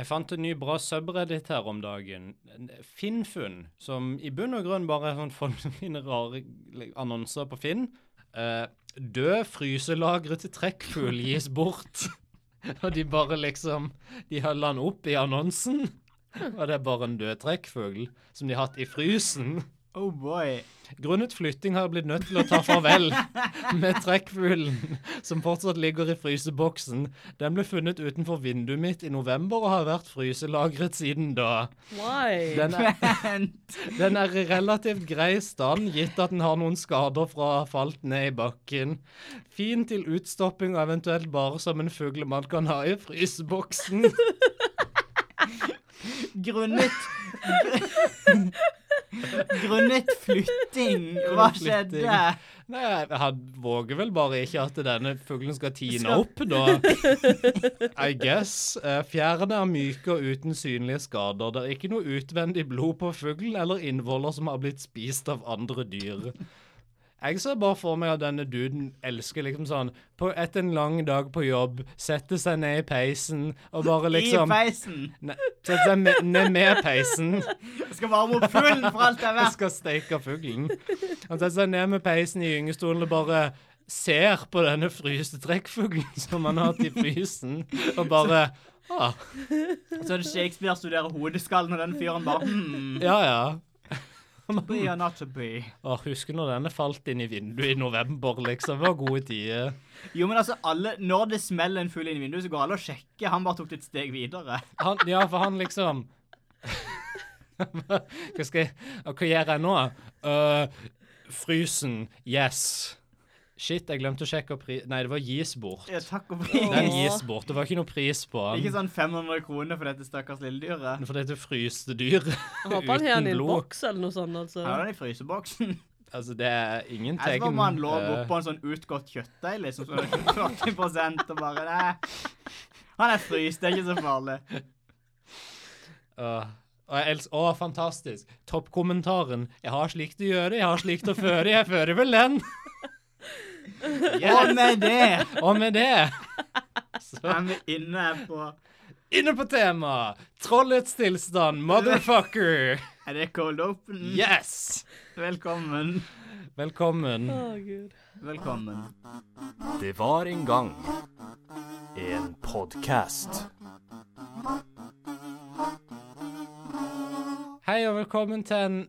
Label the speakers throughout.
Speaker 1: Jeg fant en ny bra subreddit her om dagen. Finnfunn, som i bunn og grunn bare er sånn folk som finner rare annonser på Finn. Eh, død fryselagre til trekkfugl gis bort. og de bare liksom De holder den opp i annonsen, og det er bare en død trekkfugl som de har hatt i frysen.
Speaker 2: Oh boy.
Speaker 1: Grunnet flytting har jeg blitt nødt til å ta farvel med trekkfuglen, som fortsatt ligger i fryseboksen. Den ble funnet utenfor vinduet mitt i november og har vært fryselagret siden da.
Speaker 3: Why?
Speaker 1: Den er,
Speaker 2: Vent.
Speaker 1: den er i relativt grei stand, gitt at den har noen skader fra å ha falt ned i bakken. Fin til utstopping og eventuelt bare som en fugl man kan ha i fryseboksen.
Speaker 2: Grunnet Grunnet flytting. Hva
Speaker 1: Grunnet flytting.
Speaker 2: skjedde?
Speaker 1: Nei, jeg had- våger vel bare ikke at denne fuglen skal tine
Speaker 2: Skal-
Speaker 1: opp, da. I guess. Eh, Fjærene er myke og uten synlige skader. Det er ikke noe utvendig blod på fuglen eller innvoller som har blitt spist av andre dyr. Jeg ser bare for meg at denne duden elsker liksom sånn på Etter en lang dag på jobb, setter seg ned i peisen og bare liksom
Speaker 2: I peisen.
Speaker 1: Nei, Setter seg med- ned med peisen.
Speaker 2: Jeg skal varme opp fuglen for alt det er
Speaker 1: Jeg
Speaker 2: verdt.
Speaker 1: skal steike fuglen. Han setter seg ned med peisen i gyngestolen og bare ser på denne fryste trekkfuglen som han har hatt i frysen, og bare ah,
Speaker 2: Så er det Shakespeare studerer hodeskallen, og den fyren bare hmm.
Speaker 1: Ja, ja.
Speaker 2: Be or not to be.
Speaker 1: Å, husker når denne falt inn i vinduet i november, liksom. Det var gode tider.
Speaker 2: Jo, men altså, alle, Når det smeller en fugl inn i vinduet, så går alle og sjekker. Han bare tok det et steg videre.
Speaker 1: Han, ja, for han liksom Hva skal jeg og Hva gjør jeg nå? Øh, frysen. Yes. Shit, jeg glemte å sjekke opp pri... Nei, det var gis bort.
Speaker 2: Ja, takk og pris.
Speaker 1: Den
Speaker 3: Åh.
Speaker 1: gis bort. Det var ikke noe pris på den.
Speaker 2: Ikke sånn 500 kroner for dette stakkars lille dyret.
Speaker 1: For dette fryste dyr
Speaker 3: Jeg håper han har den
Speaker 1: uten
Speaker 3: i en
Speaker 1: blod.
Speaker 3: boks eller noe sånt. altså.
Speaker 2: Her er den i fryseboksen.
Speaker 1: Altså, det er ingen
Speaker 2: Jeg
Speaker 1: tegn
Speaker 2: tror man lå
Speaker 1: eh,
Speaker 2: oppå en sånn utgått kjøttdeig, liksom. Sånn 40 og bare Nei. Han er fryst, det er ikke så farlig.
Speaker 1: øh, og jeg elsker, Å, fantastisk. Toppkommentaren. 'Jeg har slikt å gjøre, jeg har slikt å føre, jeg fører vel den'.
Speaker 2: Og med det
Speaker 1: Og med det så
Speaker 2: er vi inne på
Speaker 1: Inne på temaet! Trollets tilstand, motherfucker!
Speaker 2: Er det cold open?
Speaker 1: Yes!
Speaker 2: Velkommen.
Speaker 1: Velkommen.
Speaker 3: Å, Gud.
Speaker 2: Velkommen.
Speaker 4: Det var en gang en podkast.
Speaker 1: Hei og velkommen til en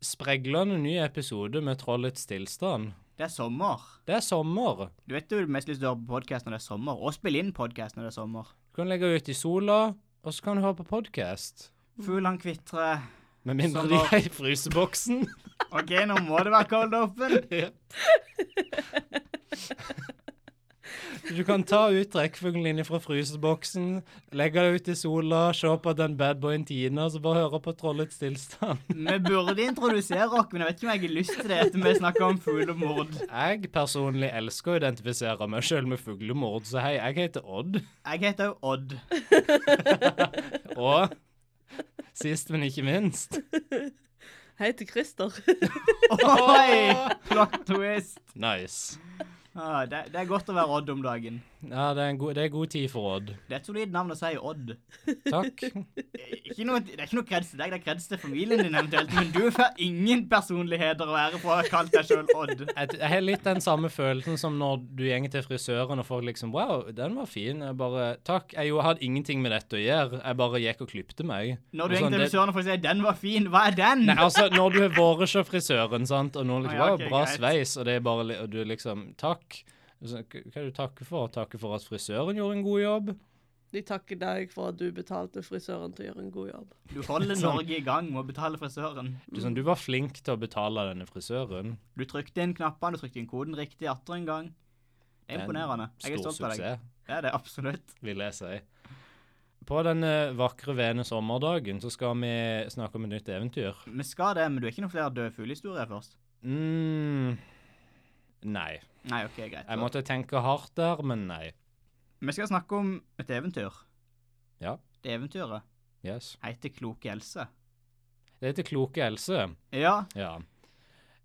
Speaker 1: spreglende ny episode med Trollets tilstand.
Speaker 2: Det er sommer.
Speaker 1: Det er sommer.
Speaker 2: Du vet du har mest lyst til å høre på podkast når det er sommer, og spille inn podkast når det er sommer.
Speaker 1: Du kan legge ut i sola, og så kan du høre på podkast.
Speaker 2: Fugl han kvitrer.
Speaker 1: Med mindre
Speaker 2: Som
Speaker 1: de
Speaker 2: var-
Speaker 1: er i fryseboksen.
Speaker 2: OK, nå må det være cold open.
Speaker 1: Du kan ta ut trekkfuglen din fra fryseboksen, legge det ut i sola, se på den badboyen tiner, og så bare høre på trollets tilstand.
Speaker 2: Vi burde introdusere oss, men jeg vet ikke om jeg har lyst til det etter vi snakker om fuglemord.
Speaker 1: Jeg personlig elsker å identifisere meg sjøl med fuglemord, så hei, jeg heter Odd.
Speaker 2: Jeg heter jo Odd.
Speaker 1: Og sist, men ikke minst
Speaker 3: Hei til Christer.
Speaker 2: Oi! Plot twist.
Speaker 1: Nice.
Speaker 2: Ah, det, det er godt å være Odd om dagen.
Speaker 1: Ja, det er, en god, det er god tid for Odd.
Speaker 2: Det er et solid navn å si Odd.
Speaker 1: Takk.
Speaker 2: Ikke noe, det er ikke noe kreds til deg, det er kreds til familien din eventuelt, men du får ingen personligheter og ære for å ha kalt deg sjøl Odd.
Speaker 1: Jeg, jeg har litt den samme følelsen som når du gjenger til frisøren og folk liksom Wow, den var fin. Jeg bare Takk. Jeg jo hadde ingenting med dette å gjøre. Jeg bare gikk og klipte meg.
Speaker 2: Når du
Speaker 1: Og sånn,
Speaker 2: egentlig
Speaker 1: det-
Speaker 2: vil får si 'den var fin', hva er den?
Speaker 1: Nei, altså, når du har vært hos frisøren, sant, og noen liksom
Speaker 2: Ah,
Speaker 1: Wow,
Speaker 2: ja, ok,
Speaker 1: bra
Speaker 2: greit.
Speaker 1: sveis, og det er bare li- Og du liksom Takk. Så, k- Hva er det du takker for? Takker for at frisøren gjorde en god jobb?
Speaker 3: De takker deg for at du betalte frisøren til å gjøre en god jobb.
Speaker 2: Du holder
Speaker 1: Sånn.
Speaker 2: Norge i gang med å betale frisøren.
Speaker 1: Du, sånn, du var flink til å betale denne frisøren.
Speaker 2: Du trykte inn knappene, du trykte inn koden riktig atter en gang. Det
Speaker 1: Det er
Speaker 2: er
Speaker 1: en
Speaker 2: imponerende. Jeg er
Speaker 1: Stor
Speaker 2: stolt av deg.
Speaker 1: suksess,
Speaker 2: Det er det absolutt.
Speaker 1: vil jeg si. På denne vakre, vene sommerdagen så skal vi snakke om et nytt eventyr.
Speaker 2: Vi skal det, men du er ikke noen flere døde fuglehistorier først?
Speaker 1: mm Nei.
Speaker 2: Nei, OK, greit.
Speaker 1: Jeg måtte tenke hardt der, men nei.
Speaker 2: Vi skal snakke om et eventyr.
Speaker 1: Ja.
Speaker 2: Det eventyret
Speaker 1: Yes.
Speaker 2: heter Kloke Else.
Speaker 1: Det heter Kloke Else.
Speaker 2: Ja,
Speaker 1: Ja.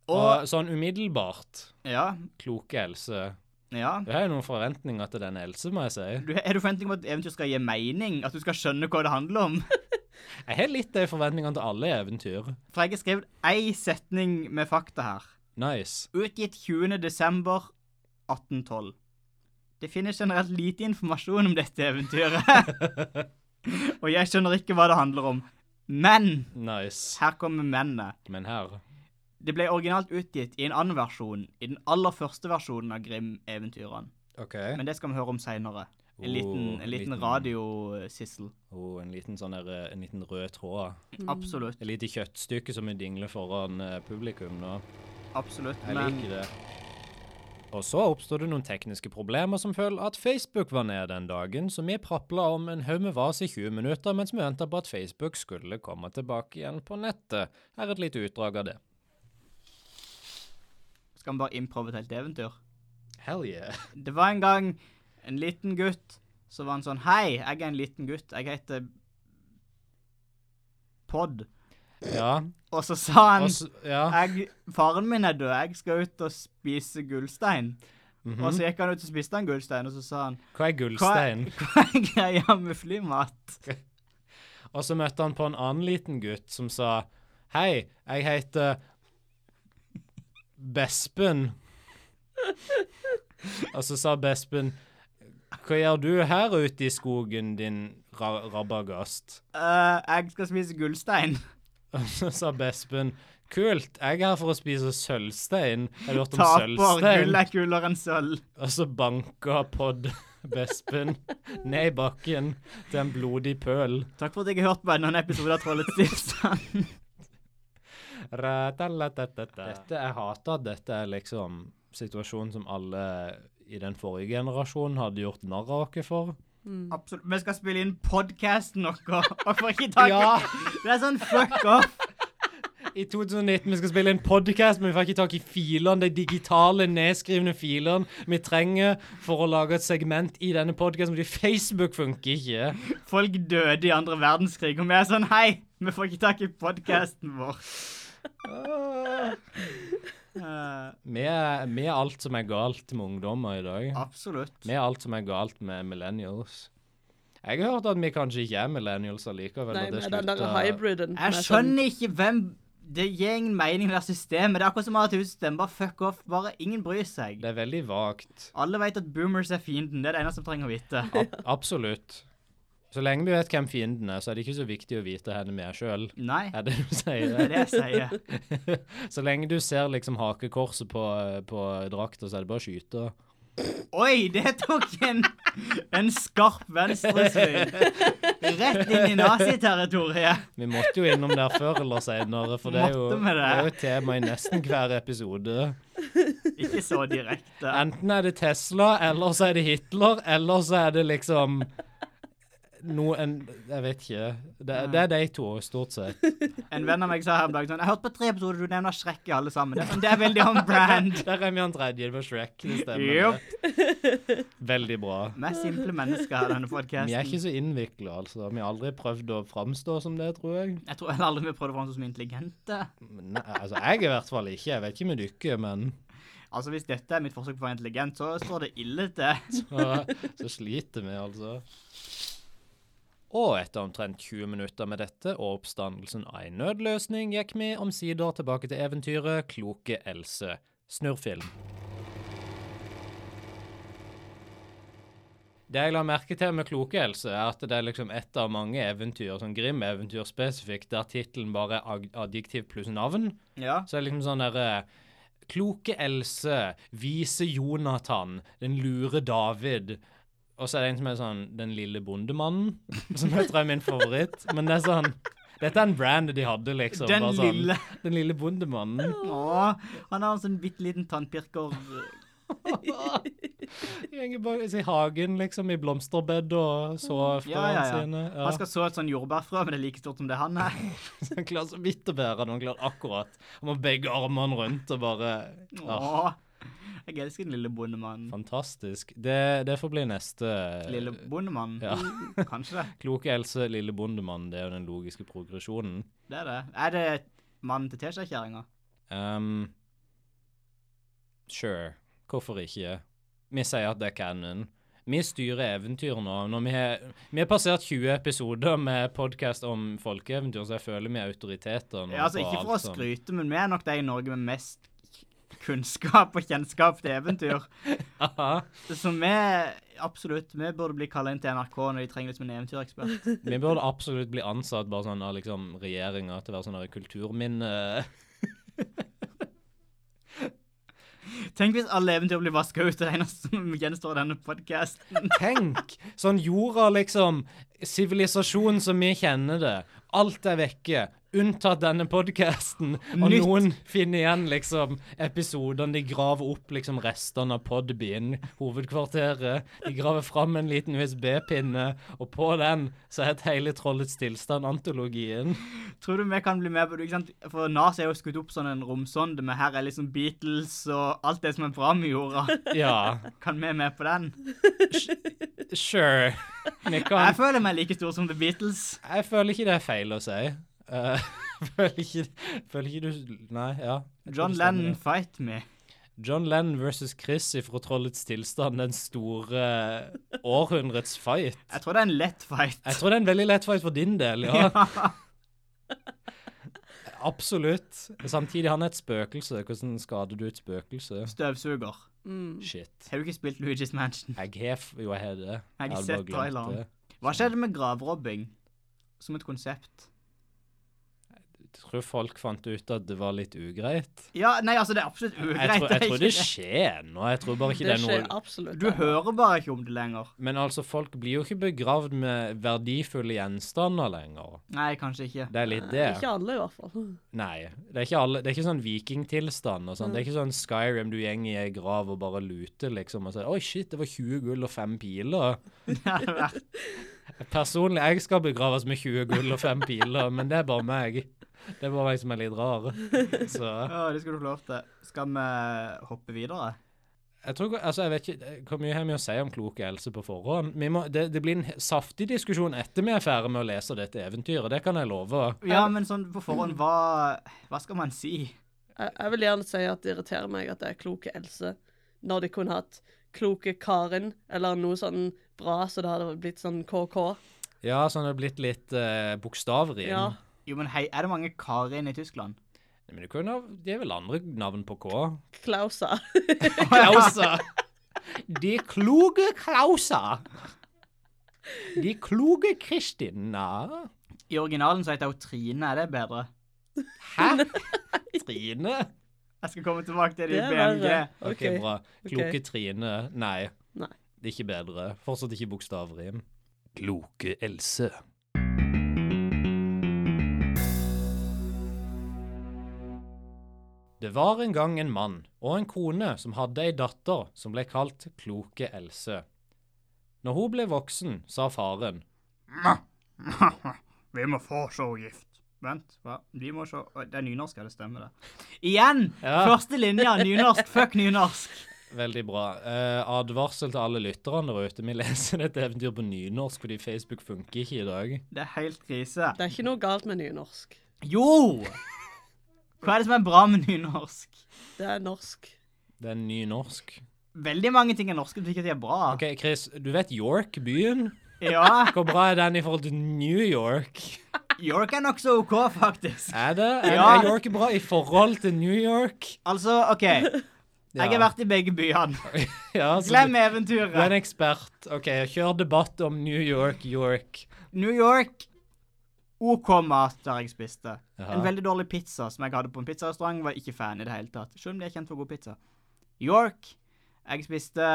Speaker 1: Og
Speaker 2: og
Speaker 1: sånn umiddelbart
Speaker 2: Ja,
Speaker 1: Kloke Else.
Speaker 2: Ja.
Speaker 1: Jeg har jo noen forventninger til den Else, må jeg si.
Speaker 2: Du, er du forventning om at eventyr skal gi mening? At du skal skjønne hva det handler om?
Speaker 1: Jeg har litt de forventningene til alle eventyr.
Speaker 2: For jeg har skrevet én setning med fakta her.
Speaker 1: Nice.
Speaker 2: Utgitt 20. desember 1812. Det finnes generelt lite informasjon om dette eventyret. Og jeg skjønner ikke hva det handler om. Men
Speaker 1: Nice.
Speaker 2: her kommer mennene.
Speaker 1: Men her
Speaker 2: Det ble originalt utgitt i en annen versjon, i den aller første versjonen av Grim-eventyrene.
Speaker 1: OK.
Speaker 2: Men det skal vi høre om seinere. En liten,
Speaker 1: Oh,
Speaker 2: en liten radiosissel.
Speaker 1: Oh, en liten sånn der, eh, en liten rød tråd.
Speaker 2: Absolutt.
Speaker 1: Et lite kjøttstykke som vi dingler foran eh, publikum nå.
Speaker 2: Absolutt.
Speaker 1: Jeg
Speaker 2: Men
Speaker 1: liker det. Og så oppstod det noen tekniske problemer som følge at Facebook var nede den dagen, så vi prapla om en haug med vas i 20 minutter mens vi venta på at Facebook skulle komme tilbake igjen på nettet. Her er et lite utdrag av det.
Speaker 2: skal vi bare improve et helt eventyr?
Speaker 1: Hell yeah.
Speaker 2: Det var en gang en liten gutt som var han sånn Hei, jeg er en liten gutt. Jeg heter Pod.
Speaker 1: Ja.
Speaker 2: Og så sa han
Speaker 1: Og s- ja.
Speaker 2: jeg, Faren min er død. Jeg skal ut og spise gullstein.
Speaker 1: mhm.
Speaker 2: Og så gikk han ut og spiste en gullstein, og så sa han
Speaker 1: Hva er
Speaker 2: Hva,
Speaker 1: gullstein?
Speaker 2: hva er greia med flymat?
Speaker 1: Og så møtte han på en annen liten gutt som sa Hei, jeg heter Bespen. Og så sa Bespen Hva gjør du her ute i skogen, din ra rabagast?
Speaker 2: «Eh, jeg skal spise gullstein.
Speaker 1: Og så sa Bespen Kult, jeg er her for å spise sølvstein. Har du hørt om
Speaker 2: Taper. Gull
Speaker 1: sølvstein?
Speaker 2: er kulere enn sølv.
Speaker 1: Og så banka Pod Bespen ned i bakken til en blodig pøl.
Speaker 2: Takk for at jeg har hørt på en annen episode av Trollets tilstand.
Speaker 1: Dette, jeg hater at dette er liksom situasjonen som alle i den forrige generasjonen hadde gjort narr av oss for.
Speaker 2: Absolutt. Vi skal spille inn podkasten vår, og får ikke tak i
Speaker 1: Ja.
Speaker 2: Det er sånn fuck off.
Speaker 1: I 2019 vi skal spille en podcast, men vi får ikke tak i filene, de digitale, nedskrivne filene vi trenger for å lage et segment i denne podkasten, fordi Facebook funker ikke.
Speaker 2: Folk døde i andre verdenskrig, og vi er sånn Hei, vi får ikke tak i podkasten vår. Eh,
Speaker 1: Vi er, vi er alt som er galt med ungdommer i dag.
Speaker 2: absolutt.
Speaker 1: Vi er alt som er galt med millennials. Jeg har hørt at vi kanskje ikke er millennials allikevel.
Speaker 3: Nei,
Speaker 1: og det
Speaker 3: med den der
Speaker 1: slutter-
Speaker 3: hybriden. med
Speaker 1: sånn.
Speaker 3: sånn-
Speaker 2: Jeg skjønner ikke hvem Det gir ingen mening med det systemet. Det er akkurat som Arathusen. Bare fuck off. Bare ingen bryr seg.
Speaker 1: Det er veldig vagt.
Speaker 2: Alle vet at boomers er fienden. Det er det eneste som trenger å vite.
Speaker 1: Absolutt. Så lenge vi vet hvem fienden er, så er det ikke så viktig å vite hvem vi er sjøl.
Speaker 2: Nei,
Speaker 1: Er det du
Speaker 2: det er
Speaker 1: sier?
Speaker 2: det jeg sier.
Speaker 1: så lenge du ser liksom hakekorset på, på drakta, så er det bare å skyte.
Speaker 2: Oi, det tok en, en skarp venstresving. Rett inn i naziterritoriet.
Speaker 1: Vi måtte jo innom der før eller seinere, for det er, jo,
Speaker 2: Måtte
Speaker 1: det
Speaker 2: vi det?
Speaker 1: er jo et tema i nesten hver episode.
Speaker 2: Ikke så direkte.
Speaker 1: Enten er det Tesla, eller så er det Hitler, eller så er det liksom noe en Jeg vet ikke. Det, er- det er de to, stort sett.
Speaker 2: En venn av meg sa her om dagen sånn Jeg hørte på tre episoder du nevner Shrek i alle sammen. Det er, sånn, det er veldig on brand.
Speaker 1: Der er vi han tredje, det var Shrek. Det stemmer.
Speaker 2: Yep.
Speaker 1: Veldig bra.
Speaker 2: Mest simple mennesker her, denne
Speaker 1: Vi er
Speaker 2: podkasten.
Speaker 1: ikke så innvikla, altså. Vi har aldri prøvd å framstå som det, tror jeg.
Speaker 2: Jeg tror heller aldri vi prøvde å framstå som intelligente.
Speaker 1: Men Nei, altså, jeg i hvert fall ikke. Jeg vet ikke med dere, men
Speaker 2: Altså, Hvis dette er mitt forsøk på å være intelligent, så står det ille til.
Speaker 1: så, så sliter vi, altså. Og etter omtrent 20 minutter med dette og oppstandelsen av en nødløsning, gikk vi omsider tilbake til eventyret Kloke Else. Snurrfilm. Det jeg la merke til med Kloke Else, er at det er liksom et av mange eventyr, sånn Grim-eventyr spesifikt, der tittelen bare er ag- adjektiv pluss navn.
Speaker 2: Ja.
Speaker 1: Så det er liksom sånn derre Kloke Else, vise Jonathan, den lure David. Og så er det en som er sånn Den lille bondemannen, som jeg tror er min favoritt. Men det er sånn Dette er en brand de hadde, liksom.
Speaker 2: Den
Speaker 1: bare sånn,
Speaker 2: lille.
Speaker 1: Den lille bondemannen.
Speaker 2: Å, han har en sånn bitte liten tannpirker. eh,
Speaker 1: Gjenger bak i hagen, liksom, i blomsterbed og så frøene
Speaker 2: Ja, ja, ja.
Speaker 1: sine.
Speaker 2: Han skal så et sånn jordbærfrø, men det er like stort som det han er.
Speaker 1: Så han klarer så vidt å bære det. Han klarer akkurat. Han har begge armene rundt og bare ah,
Speaker 2: Å, jeg elsker den lille bondemannen.
Speaker 1: Fantastisk. Det, det får bli neste
Speaker 2: Lille bondemannen?
Speaker 1: Ja.
Speaker 2: Kanskje det.
Speaker 1: Kloke Else, lille bondemann, det er jo den logiske progresjonen.
Speaker 2: Det er det. Er det mannen til teskjekjerringa?
Speaker 1: Um, sure. Hvorfor ikke? Vi sier at det er canon. Vi styrer eventyr nå. Når vi, har, vi har passert 20 episoder med podkast om folkeeventyr, så jeg føler vi er autoriteter nå.
Speaker 2: Ja, altså
Speaker 1: på
Speaker 2: Ikke
Speaker 1: alt
Speaker 2: for å
Speaker 1: som-
Speaker 2: skryte, men vi er nok de i Norge med mest kunnskap og kjennskap til eventyr.
Speaker 1: Haha.
Speaker 2: Så vi absolutt, vi burde bli kalla inn til NRK når de trenger liksom en eventyrekspert.
Speaker 1: vi burde absolutt bli ansatt bare sånn av liksom regjeringa til å være sånn der kulturminne...
Speaker 2: Tenk hvis alle eventyr blir vaska ut, og det eneste som gjenstår er denne podkasten.
Speaker 1: Tenk! Sånn jorda, liksom. Sivilisasjon som vi kjenner det. Alt er vekke. Unntatt denne podkasten. Og
Speaker 2: Nytt.
Speaker 1: noen finner igjen liksom episodene. De graver opp liksom restene av Podbean, hovedkvarteret. De graver fram en liten USB-pinne, og på den så het hele Trollets tilstand-antologien.
Speaker 2: Tror du vi kan bli med på det? ikke sant? For NASA er jo skutt opp sånn en romsonde, men her er liksom Beatles og alt det som er bra med jorda.
Speaker 1: Ja,
Speaker 2: Kan vi med på den?
Speaker 1: sure. Vi
Speaker 2: Jeg
Speaker 1: kan
Speaker 2: føler meg like stor som The Beatles.
Speaker 1: Jeg føler ikke det er feil å si. Eh, føler ikke Føler ikke du Nei, ja. Jeg tror
Speaker 2: John
Speaker 1: det stemmer,
Speaker 2: Lennon,
Speaker 1: det.
Speaker 2: fight me.
Speaker 1: John Lennon versus Chris fra Trollets tilstand, den store eh, århundrets fight.
Speaker 2: Jeg tror det er en lett fight.
Speaker 1: Jeg tror det er en veldig lett fight for din del, ja. Absolutt. Samtidig, han er et spøkelse. Hvordan skader du et spøkelse?
Speaker 2: Støvsuger.
Speaker 3: Mm.
Speaker 1: Shit.
Speaker 2: Har du ikke spilt Luigi's Mansion?
Speaker 1: Jeg har f- Jo, jeg har det.
Speaker 2: har
Speaker 1: hadde
Speaker 2: sett
Speaker 1: bare glemt
Speaker 2: traileren.
Speaker 1: det.
Speaker 2: Hva skjedde med gravrobbing som et konsept?
Speaker 1: Jeg tror folk fant ut at det var litt ugreit.
Speaker 2: Ja, nei, altså, det er absolutt ugreit.
Speaker 1: Jeg tror,
Speaker 2: er
Speaker 1: jeg tror det
Speaker 2: ikke
Speaker 1: skjer nå. Jeg tror bare ikke det
Speaker 3: Det
Speaker 1: er
Speaker 3: skjer
Speaker 1: noe
Speaker 2: det.
Speaker 3: absolutt.
Speaker 2: Du hører bare ikke om det lenger.
Speaker 1: Men altså, folk blir jo ikke begravd med verdifulle gjenstander lenger.
Speaker 2: Nei, kanskje ikke.
Speaker 1: Det er litt det.
Speaker 3: Ikke alle, i hvert fall.
Speaker 1: Nei. Det er ikke, alle, det er ikke sånn vikingtilstand og sånn. Det er ikke sånn Skyrim du gjeng i ei grav og bare luter, liksom, og sier 'oi, shit, det var 20 gull og 5 piler'. Personlig, jeg skal begraves med 20 gull og 5 piler, men det er bare meg. Det er bare meg som er litt rar. Så
Speaker 2: Ja, det skal du få lov til. Skal vi eh, hoppe videre?
Speaker 1: jeg tror, altså, jeg vet ikke hvor mye har vi å si om klok helse på forhånd. Vi må, det, det blir en saftig diskusjon etter vi er ferdig med å lese dette eventyret, det kan jeg love.
Speaker 2: Ja, men sånn på forhånd, hva, hva skal man si?
Speaker 3: Jeg, jeg vil gjerne si at det irriterer meg at det er kloke Else, når de kunne hatt kloke Karin, eller noe sånn bra, så det hadde blitt sånn KK.
Speaker 1: Ja, sånn det har blitt litt eh, bokstavrim.
Speaker 3: Ja.
Speaker 2: Jo, men hei, er det mange Karin i Tyskland?
Speaker 1: Men det, kunne, ha- det er vel andre navn på K?
Speaker 3: Klausa.
Speaker 1: Klauser. De kloke Klauser. De kloke Kristina.
Speaker 2: I originalen så heter hun Trine, er det bedre?
Speaker 1: Hæ? Trine?
Speaker 2: Jeg skal komme tilbake til det i
Speaker 3: Det er
Speaker 2: BMG.
Speaker 3: verre.
Speaker 1: OK,
Speaker 3: OK.
Speaker 1: bra. Kloke Trine. Nei.
Speaker 3: Nei.
Speaker 1: Det er ikke bedre. Fortsatt ikke bokstavrim.
Speaker 4: Kloke Else.
Speaker 1: Det var en gang en mann og en kone som hadde ei datter som ble kalt Kloke Else. Når hun ble voksen, sa faren
Speaker 2: Vi må få se gift. Vent, hva? Vi må se Oi, Det er nynorsk, ja. Det stemmer, det. Igjen!
Speaker 1: Ja.
Speaker 2: Første linja. Nynorsk. Fuck nynorsk.
Speaker 1: Veldig bra. Eh, advarsel til alle lytterne der ute. Vi leser dette eventyret på nynorsk fordi Facebook funker ikke i dag.
Speaker 2: Det er helt krise.
Speaker 3: Det er ikke noe galt med nynorsk.
Speaker 2: Jo! Hva er det som er bra med nynorsk?
Speaker 3: Det er norsk.
Speaker 1: Det er nynorsk.
Speaker 2: Veldig mange ting er norske som ikke er bra.
Speaker 1: OK, Chris. Du vet York, byen?
Speaker 2: Ja,
Speaker 1: Hvor bra er den i forhold til New York?
Speaker 2: York er nokså OK, faktisk.
Speaker 1: Er det? Er,
Speaker 2: Ja.
Speaker 1: er York bra i forhold til New York?
Speaker 2: Altså, OK. Jeg har vært i begge byene.
Speaker 1: ja, så du, Altså,
Speaker 2: Glem
Speaker 1: du er en
Speaker 2: eventyret.
Speaker 1: ekspert. OK, kjør debatt om New York, York.
Speaker 2: New York OK mat der jeg spiste.
Speaker 1: Jaha.
Speaker 2: En veldig dårlig pizza som jeg hadde på en pizzarestaurant, var jeg ikke fan i det hele tatt. Selv om de er kjent for god pizza. York Jeg spiste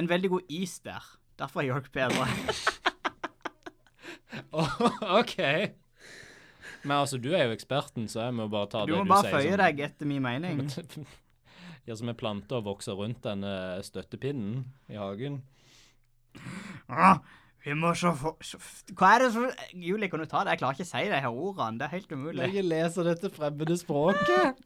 Speaker 2: en veldig god is der. Derfor er York bedre.
Speaker 1: OK. Men altså, du er jo eksperten, så jeg må bare ta
Speaker 2: Du
Speaker 1: det
Speaker 2: må
Speaker 1: du
Speaker 2: bare
Speaker 1: sier. sånn.
Speaker 2: føye
Speaker 1: som-
Speaker 2: deg etter min mening.
Speaker 1: Ja, som er planter og vokser rundt denne støttepinnen i hagen.
Speaker 2: Ah, Vi må så få så- Hva er det som Julie, kan du ta det? Jeg klarer ikke å si de her ordene. Det er helt umulig.
Speaker 1: Jeg leser dette fremmede språket.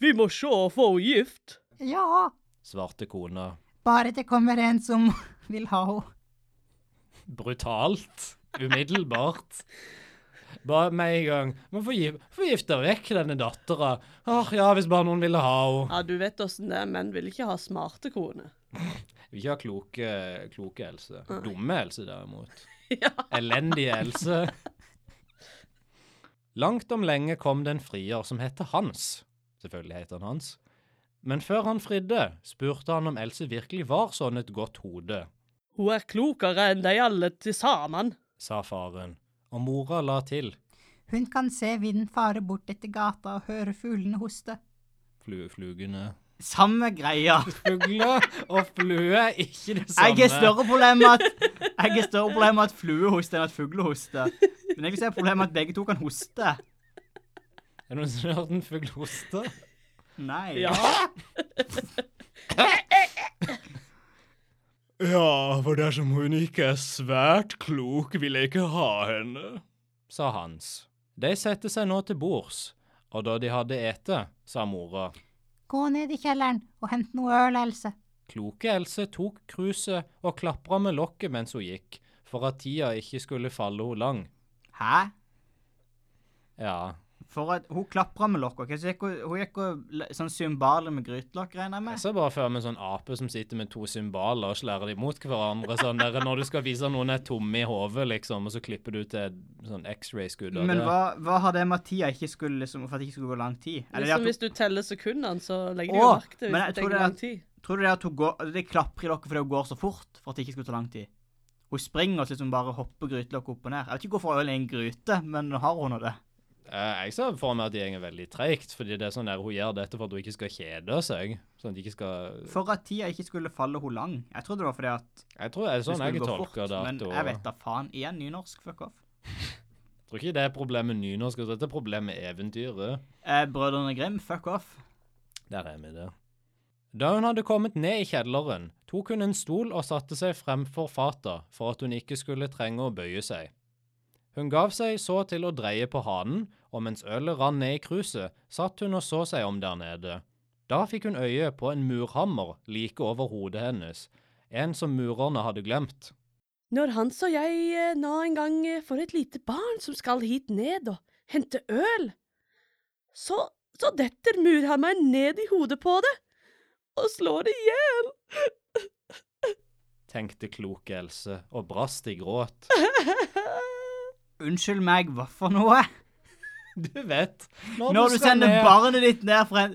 Speaker 3: Vi må sjå og få henne gift.
Speaker 2: Ja,
Speaker 1: Svarte kona.
Speaker 2: bare det kommer en som vil ha henne.
Speaker 1: Brutalt. Umiddelbart. Bare med en gang. Må få, gi- få gifte vekk denne dattera. Åh, ja, hvis bare noen ville ha henne.
Speaker 3: Ja, du vet åssen det er. Menn vil ikke ha smarte koner.
Speaker 1: Vil ikke ha kloke, kloke Else. Dumme Else, derimot.
Speaker 3: Ja.
Speaker 1: Elendige Else. Langt om lenge kom det en frier som hette Hans. Selvfølgelig heter han Hans. Men før han fridde, spurte han om Else virkelig var sånn et godt hode,
Speaker 3: Hun er klokere enn de alle til sammen.
Speaker 1: sa faren, og mora la til.
Speaker 5: Hun kan se vinden fare bort etter gata og høre fuglene hoste.
Speaker 1: Flu, flugene
Speaker 2: Samme greia.
Speaker 1: Fugler og flue er ikke det samme.
Speaker 2: Jeg har større problem med at, jeg har større problem med at flue hoster enn at fugle hoster. Men jeg vil se problemet med at begge to kan hoste.
Speaker 1: Er det noen som har hørt en fugl hoste?
Speaker 2: Nei.
Speaker 3: Ja.
Speaker 1: Ja, for dersom hun ikke er svært klok, vil jeg ikke ha henne, sa Hans. De satte seg nå til bords, og da de hadde ete, sa mora.
Speaker 5: Gå ned i kjelleren og hent noe øl, Else.
Speaker 1: Kloke Else tok kruset og klapra med lokket mens hun gikk, for at tida ikke skulle falle hun lang.
Speaker 2: Hæ?
Speaker 1: Ja,
Speaker 2: For at hun klapra med lokk. ok? Så gikk hun, hun gikk og l- sånn cymbaler med grytelokk, regner jeg
Speaker 1: jeg
Speaker 2: med.
Speaker 1: ser bare for meg en sånn ape som sitter med to symbaler og slærer dem mot hverandre, sånn der når du skal vise at noen er tomme i hodet, liksom, og så klipper du til et sånn X-ray-skudd av
Speaker 2: Men
Speaker 1: det.
Speaker 2: hva, hva har det med at tida ikke skulle liksom, For at det ikke skulle gå lang tid? Eller det
Speaker 3: Liksom,
Speaker 2: at
Speaker 3: hvis du teller sekundene, så legger du
Speaker 2: Å,
Speaker 3: jo merke til
Speaker 2: men
Speaker 3: hvis
Speaker 2: jeg tror
Speaker 3: det tar
Speaker 2: det er-
Speaker 3: lang tid.
Speaker 2: hun, tror du det at hun går, det klapper i lokket fordi hun går så fort for at det ikke skulle ta lang tid? Hun springer og så liksom bare hopper grytelokket opp og ned. Jeg vet ikke hvorfor øl er i en gryte, men har hun nå det?
Speaker 1: Eh, Jeg ser for meg at det går veldig treigt, fordi det er sånn der hun gjør dette for at hun ikke skal kjede seg. Sånn at de ikke skal
Speaker 2: For at tida ikke skulle falle hun lang. Jeg trodde det var fordi at
Speaker 1: Jeg tror det er
Speaker 2: det
Speaker 1: sånn
Speaker 2: skulle
Speaker 1: jeg
Speaker 2: gå
Speaker 1: tolker
Speaker 2: fort.
Speaker 1: det. at
Speaker 2: Men
Speaker 1: hun-
Speaker 2: jeg vet da faen. Igjen nynorsk, fuck off.
Speaker 1: tror ikke det er problemet nynorsk, jeg tror dette er problemet eventyret.
Speaker 2: Eh, Brødrene Grim, fuck off.
Speaker 1: Der er vi det. Da hun hadde kommet ned i kjelleren, tok hun en stol og satte seg fremfor fata for at hun ikke skulle trenge å bøye seg. Hun gav seg så til å dreie på hanen, og mens ølet rann ned i kruset, satt hun og så seg om der nede. Da fikk hun øye på en murhammer like over hodet hennes, en som murerne hadde glemt.
Speaker 3: Når Hans og jeg eh, nå en gang eh, får et lite barn som skal hit ned og hente øl, så, så detter murhammeren ned i hodet på det og slår det i hjel.
Speaker 1: Tenkte kloke Else og brast i gråt.
Speaker 2: Unnskyld meg, hva for noe?
Speaker 1: Du vet,
Speaker 2: Når du
Speaker 1: skal
Speaker 2: sender
Speaker 1: ned-
Speaker 2: barnet ditt ned fra en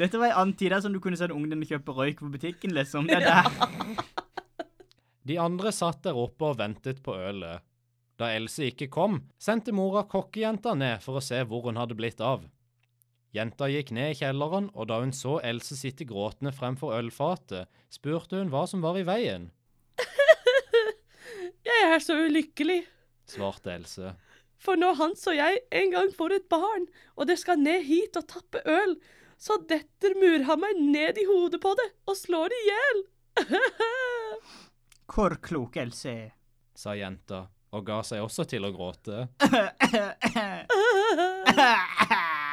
Speaker 2: Dette var en annen tid der som du kunne sende ungen din og kjøpe røyk på butikken, liksom. Det der.
Speaker 1: De andre satt der oppe og ventet på ølet. Da Else ikke kom, sendte mora kokkejenta ned for å se hvor hun hadde blitt av. Jenta gikk ned i kjelleren, og da hun så Else sitte gråtende fremfor ølfatet, spurte hun hva som var i veien.
Speaker 3: Jeg er så ulykkelig,
Speaker 1: Svarte Else.
Speaker 3: for når Hans og jeg en gang får et barn, og det skal ned hit og tappe øl, så detter murhammeren ned i hodet på det og slår det i hjel.
Speaker 2: Hvor klok Else er.
Speaker 1: sa jenta, og ga seg også til å gråte.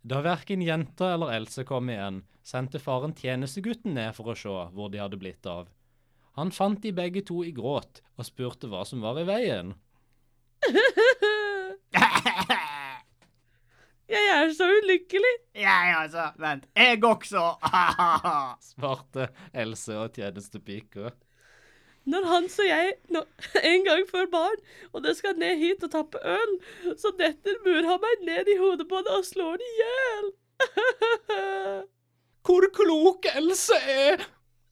Speaker 1: Da verken jenta eller Else kom igjen, sendte faren tjenestegutten ned for å se hvor de hadde blitt av. Han fant de begge to i gråt, og spurte hva som var i veien.
Speaker 3: Jeg er så ulykkelig.
Speaker 2: Jeg altså. Vent. Jeg også.
Speaker 1: svarte Else og tjenestepika.
Speaker 3: Når Hans og jeg nå- en gang får barn, og det skal ned hit og tappe øl, så detter murhammeren ned i hodet på det og slår det i hjel.
Speaker 1: Hvor klok Else er!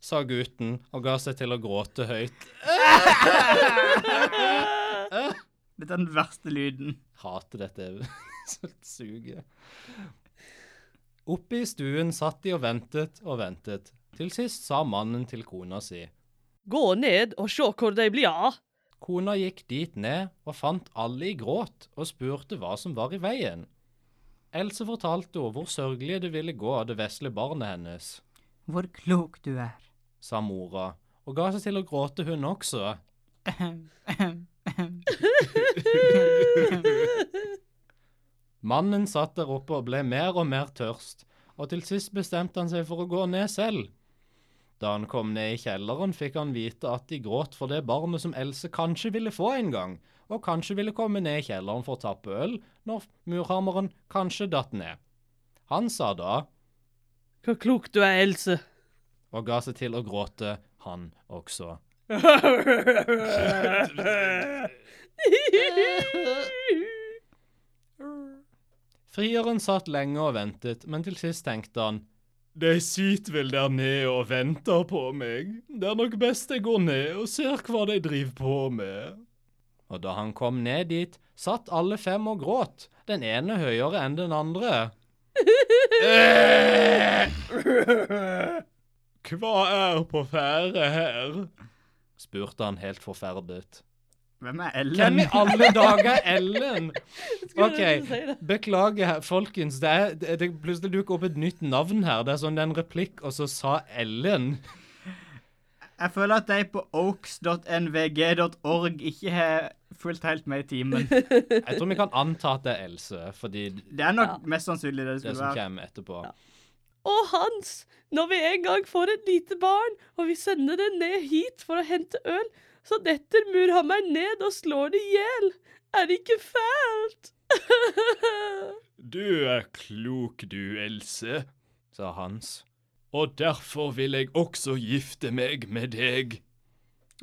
Speaker 1: sa gutten og ga seg til å gråte høyt.
Speaker 2: Dette er den verste lyden.
Speaker 1: Hater dette så det suger. Oppe i stuen satt de og ventet og ventet. Til sist sa mannen til kona si.
Speaker 3: Gå ned og se hvor de blir av.
Speaker 1: Kona gikk dit ned og fant alle i gråt og spurte hva som var i veien. Else fortalte henne hvor sørgelig det ville gå av det vesle barnet hennes,
Speaker 5: Hvor klok du er.
Speaker 1: sa mora, og ga seg til å gråte hun også. Mannen satt der oppe og ble mer og mer tørst, og til sist bestemte han seg for å gå ned selv. Da han kom ned i kjelleren, fikk han vite at de gråt for det barnet som Else kanskje ville få en gang, og kanskje ville komme ned i kjelleren for å tappe øl når murhammeren kanskje datt ned. Han sa da,
Speaker 3: Hva klok du er, Else.
Speaker 1: og ga seg til å gråte, han også. Frieren satt lenge og ventet, men til sist tenkte han De sitter vel der nede og venter på meg. Det er nok best jeg går ned og ser hva de driver på med. Og da han kom ned dit, satt alle fem og gråt, den ene høyere enn den andre. Eh! Hva er på ferde her? spurte han helt forferdet.
Speaker 2: Hvem er Ellen?
Speaker 1: Hvem i alle dager er Ellen?
Speaker 3: Skulle
Speaker 1: OK,
Speaker 3: jeg si det?
Speaker 1: beklager, her, folkens. Det, er, det, det plutselig dukker opp et nytt navn her. Det er sånn det er en replikk, og så sa Ellen.
Speaker 2: Jeg føler at de på oaks.nvg.org ikke har fulgt helt med i timen.
Speaker 1: Jeg tror vi kan anta at det er Else, fordi
Speaker 2: Det er nok
Speaker 3: Ja.
Speaker 2: mest sannsynlig det det
Speaker 1: det
Speaker 2: skulle
Speaker 1: som
Speaker 2: være.
Speaker 1: kommer etterpå.
Speaker 3: Og Hans, når vi en gang får et lite barn, og vi sender det ned hit for å hente øl, så detter murhammeren ned og slår det i hjel. Er det ikke fælt?
Speaker 1: Du er klok, du, Else, sa Hans. Og derfor vil jeg også gifte meg med deg.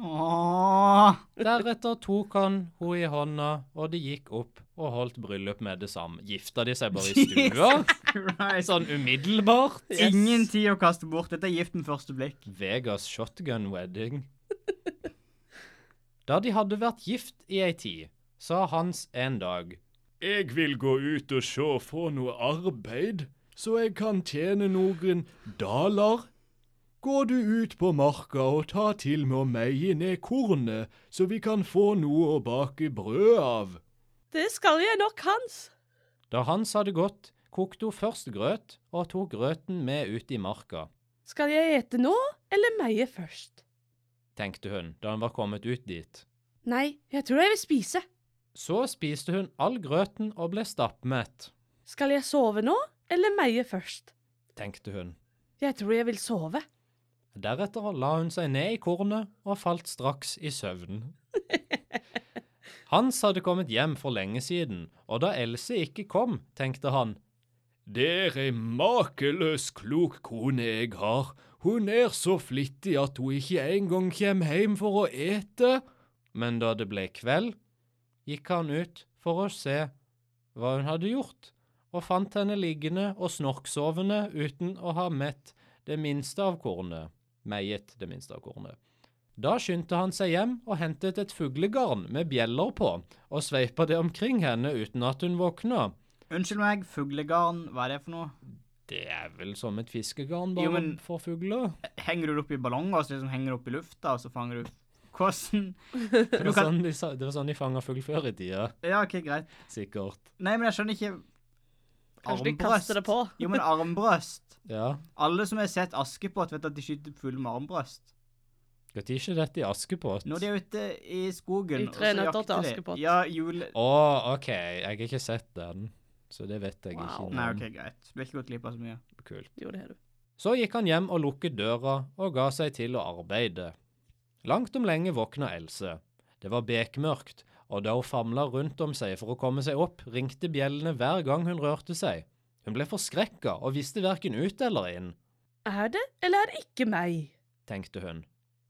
Speaker 2: Åh,
Speaker 1: Deretter tok han henne i hånda, og de gikk opp og holdt bryllup med det samme. Gifta de seg bare i stua?
Speaker 2: Christ.
Speaker 1: Sånn umiddelbart?
Speaker 2: Ingen tid å kaste bort. Dette er gift med første blikk.
Speaker 1: Vegas shotgun wedding. Da de hadde vært gift i ei tid, sa Hans en dag. Jeg vil gå ut og sjå få noe arbeid, så jeg kan tjene noen daler. Går du ut på marka og ta til med å meie ned kornet, så vi kan få noe å bake brød av.
Speaker 3: Det skal jeg nok, Hans.
Speaker 1: Da Hans hadde gått, kokte hun først grøt, og tok grøten med ut i marka,
Speaker 3: Skal jeg ete nå, eller meie først?
Speaker 1: tenkte hun da han var kommet ut dit.
Speaker 3: Nei, jeg tror jeg vil spise.
Speaker 1: Så spiste hun all grøten og ble stappmett,
Speaker 3: Skal jeg sove nå, eller meie først?
Speaker 1: tenkte hun.
Speaker 3: Jeg tror jeg vil sove.
Speaker 1: Deretter la hun seg ned i kornet og falt straks i søvn. Hans hadde kommet hjem for lenge siden, og da Else ikke kom, tenkte han. Det er ei makeløs klok kone jeg har. Hun er så flittig at hun ikke engang kommer hjem for å ete. Men da det ble kveld, gikk han ut for å se hva hun hadde gjort, og fant henne liggende og snorksovende uten å ha mett det minste av kornet, meiet det minste av kornet. Da skyndte han seg hjem og hentet et fuglegarn med bjeller på, og sveipa det omkring henne uten at hun våkna.
Speaker 2: Unnskyld meg, fuglegarn, hva er det for noe?
Speaker 1: Det er vel som et fiskegarn, bare
Speaker 2: Jo, men-
Speaker 1: for fugler?
Speaker 2: Henger du det opp i ballonger, så liksom henger det opp i lufta, og så fanger du Hvordan?
Speaker 1: Det
Speaker 2: Du
Speaker 1: var,
Speaker 2: kan-
Speaker 1: sånn de, sa- det var sånn de fanga fugl før i tida,
Speaker 2: Ja, OK, greit.
Speaker 1: sikkert.
Speaker 2: Nei, men jeg skjønner ikke
Speaker 3: Kanskje de kaster det på.
Speaker 2: Jo, men armbrøst.
Speaker 1: Ja.
Speaker 2: Alle som har sett Askepott, vet at de skyter fugler med armbrøst.
Speaker 1: Når ikke dette i Askepott?
Speaker 2: Når de er ute i skogen
Speaker 3: I Tre nøtter til
Speaker 2: jakter de.
Speaker 3: Askepott.
Speaker 2: Ja, jule...
Speaker 1: Å, OK. Jeg har ikke sett den, så det vet jeg
Speaker 3: Wow.
Speaker 1: ikke.
Speaker 2: Nei,
Speaker 1: men
Speaker 2: OK, greit. Du har ikke gått glipp av så mye.
Speaker 1: Kult.
Speaker 3: Jo, det har du.
Speaker 1: Så gikk han hjem og lukket døra og ga seg til å arbeide. Langt om lenge våkna Else. Det var bekmørkt, og da hun famla rundt om seg for å komme seg opp, ringte bjellene hver gang hun rørte seg. Hun ble forskrekka og visste verken ut eller inn,
Speaker 3: Er det, eller er det ikke meg?
Speaker 1: tenkte hun.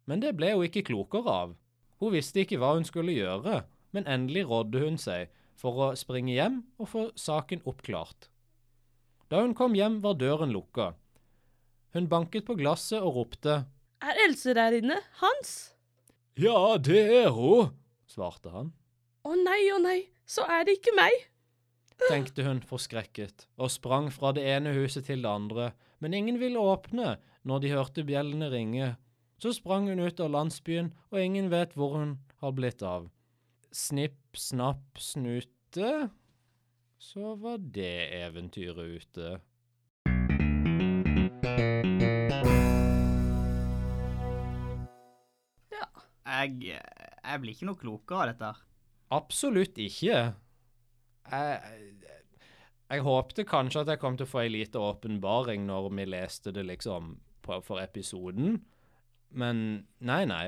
Speaker 1: Men det ble hun ikke klokere av. Hun visste ikke hva hun skulle gjøre, men endelig rådde hun seg for å springe hjem og få saken oppklart. Da hun kom hjem, var døren lukka. Hun banket på glasset og ropte
Speaker 3: Er Else der inne? Hans?
Speaker 1: Ja, det er hun, svarte han.
Speaker 3: Å nei, å nei, så er det ikke meg.
Speaker 1: Tenkte hun forskrekket, og sprang fra det ene huset til det andre, men ingen ville åpne når de hørte bjellene ringe. Så sprang hun ut av landsbyen, og ingen vet hvor hun har blitt av. Snipp, snapp, snute Så var det eventyret ute.
Speaker 2: Jeg, jeg blir ikke noe klokere av dette. her.
Speaker 1: Absolutt ikke. Jeg, jeg håpte kanskje at jeg kom til å få ei lite åpenbaring når vi leste det liksom på, for episoden, Men nei, nei.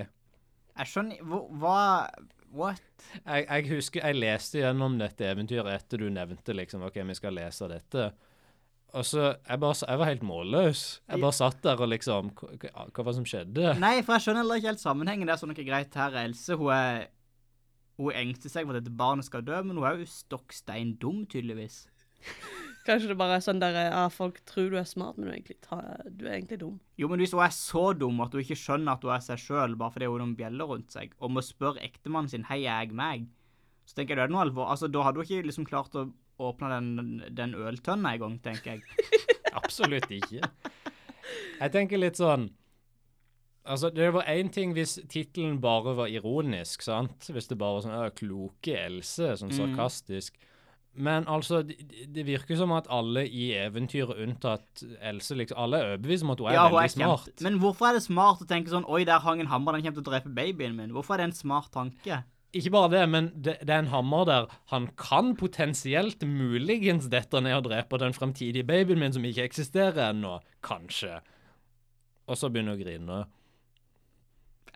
Speaker 2: Jeg skjønner hvor- Hva What?
Speaker 1: Jeg, jeg husker jeg leste gjennom dette eventyret etter du nevnte liksom, ok, vi skal lese dette. Og så, jeg, bare, jeg var helt målløs. Jeg bare satt der og liksom, hva, hva- hva var det som skjedde?
Speaker 2: Nei, for jeg skjønner heller ikke helt sammenhengen. Det er sånn noe greit her. Else hun er Hun engster seg for at dette barnet skal dø, men hun er jo stokk stein dum, tydeligvis.
Speaker 3: Kanskje det bare er sånn der ja, folk tror du er smart, men du er egentlig, ta, du er egentlig dum.
Speaker 2: Jo, men hvis hun er så dum at hun ikke skjønner at hun er seg sjøl bare fordi hun har noen bjeller rundt seg, og må spørre ektemannen sin 'hei, er jeg meg', så tenker jeg det er noe alvor. Altså, Da hadde hun ikke liksom klart å åpne den, den øltønna engang, tenker jeg.
Speaker 1: Absolutt ikke. Jeg tenker litt sånn Altså, Det var én ting hvis tittelen bare var ironisk, sant? Hvis det bare var sånn «Å, 'Kloke Else', sånn
Speaker 2: Mm.
Speaker 1: sarkastisk. Men altså, det, det virker som at alle i eventyret unntatt Else liksom, Alle er overbevist om at hun er
Speaker 2: Ja, hun er
Speaker 1: veldig smart.
Speaker 2: kjempe... Men hvorfor er det smart å tenke sånn 'oi, der hang en hammer, den kommer til å drepe babyen min'? Hvorfor er det en smart tanke?
Speaker 1: Ikke bare det, men det, det er en hammer der. Han kan potensielt muligens dette ned og drepe den fremtidige babyen min som ikke eksisterer ennå. Kanskje. Og så begynner hun å grine.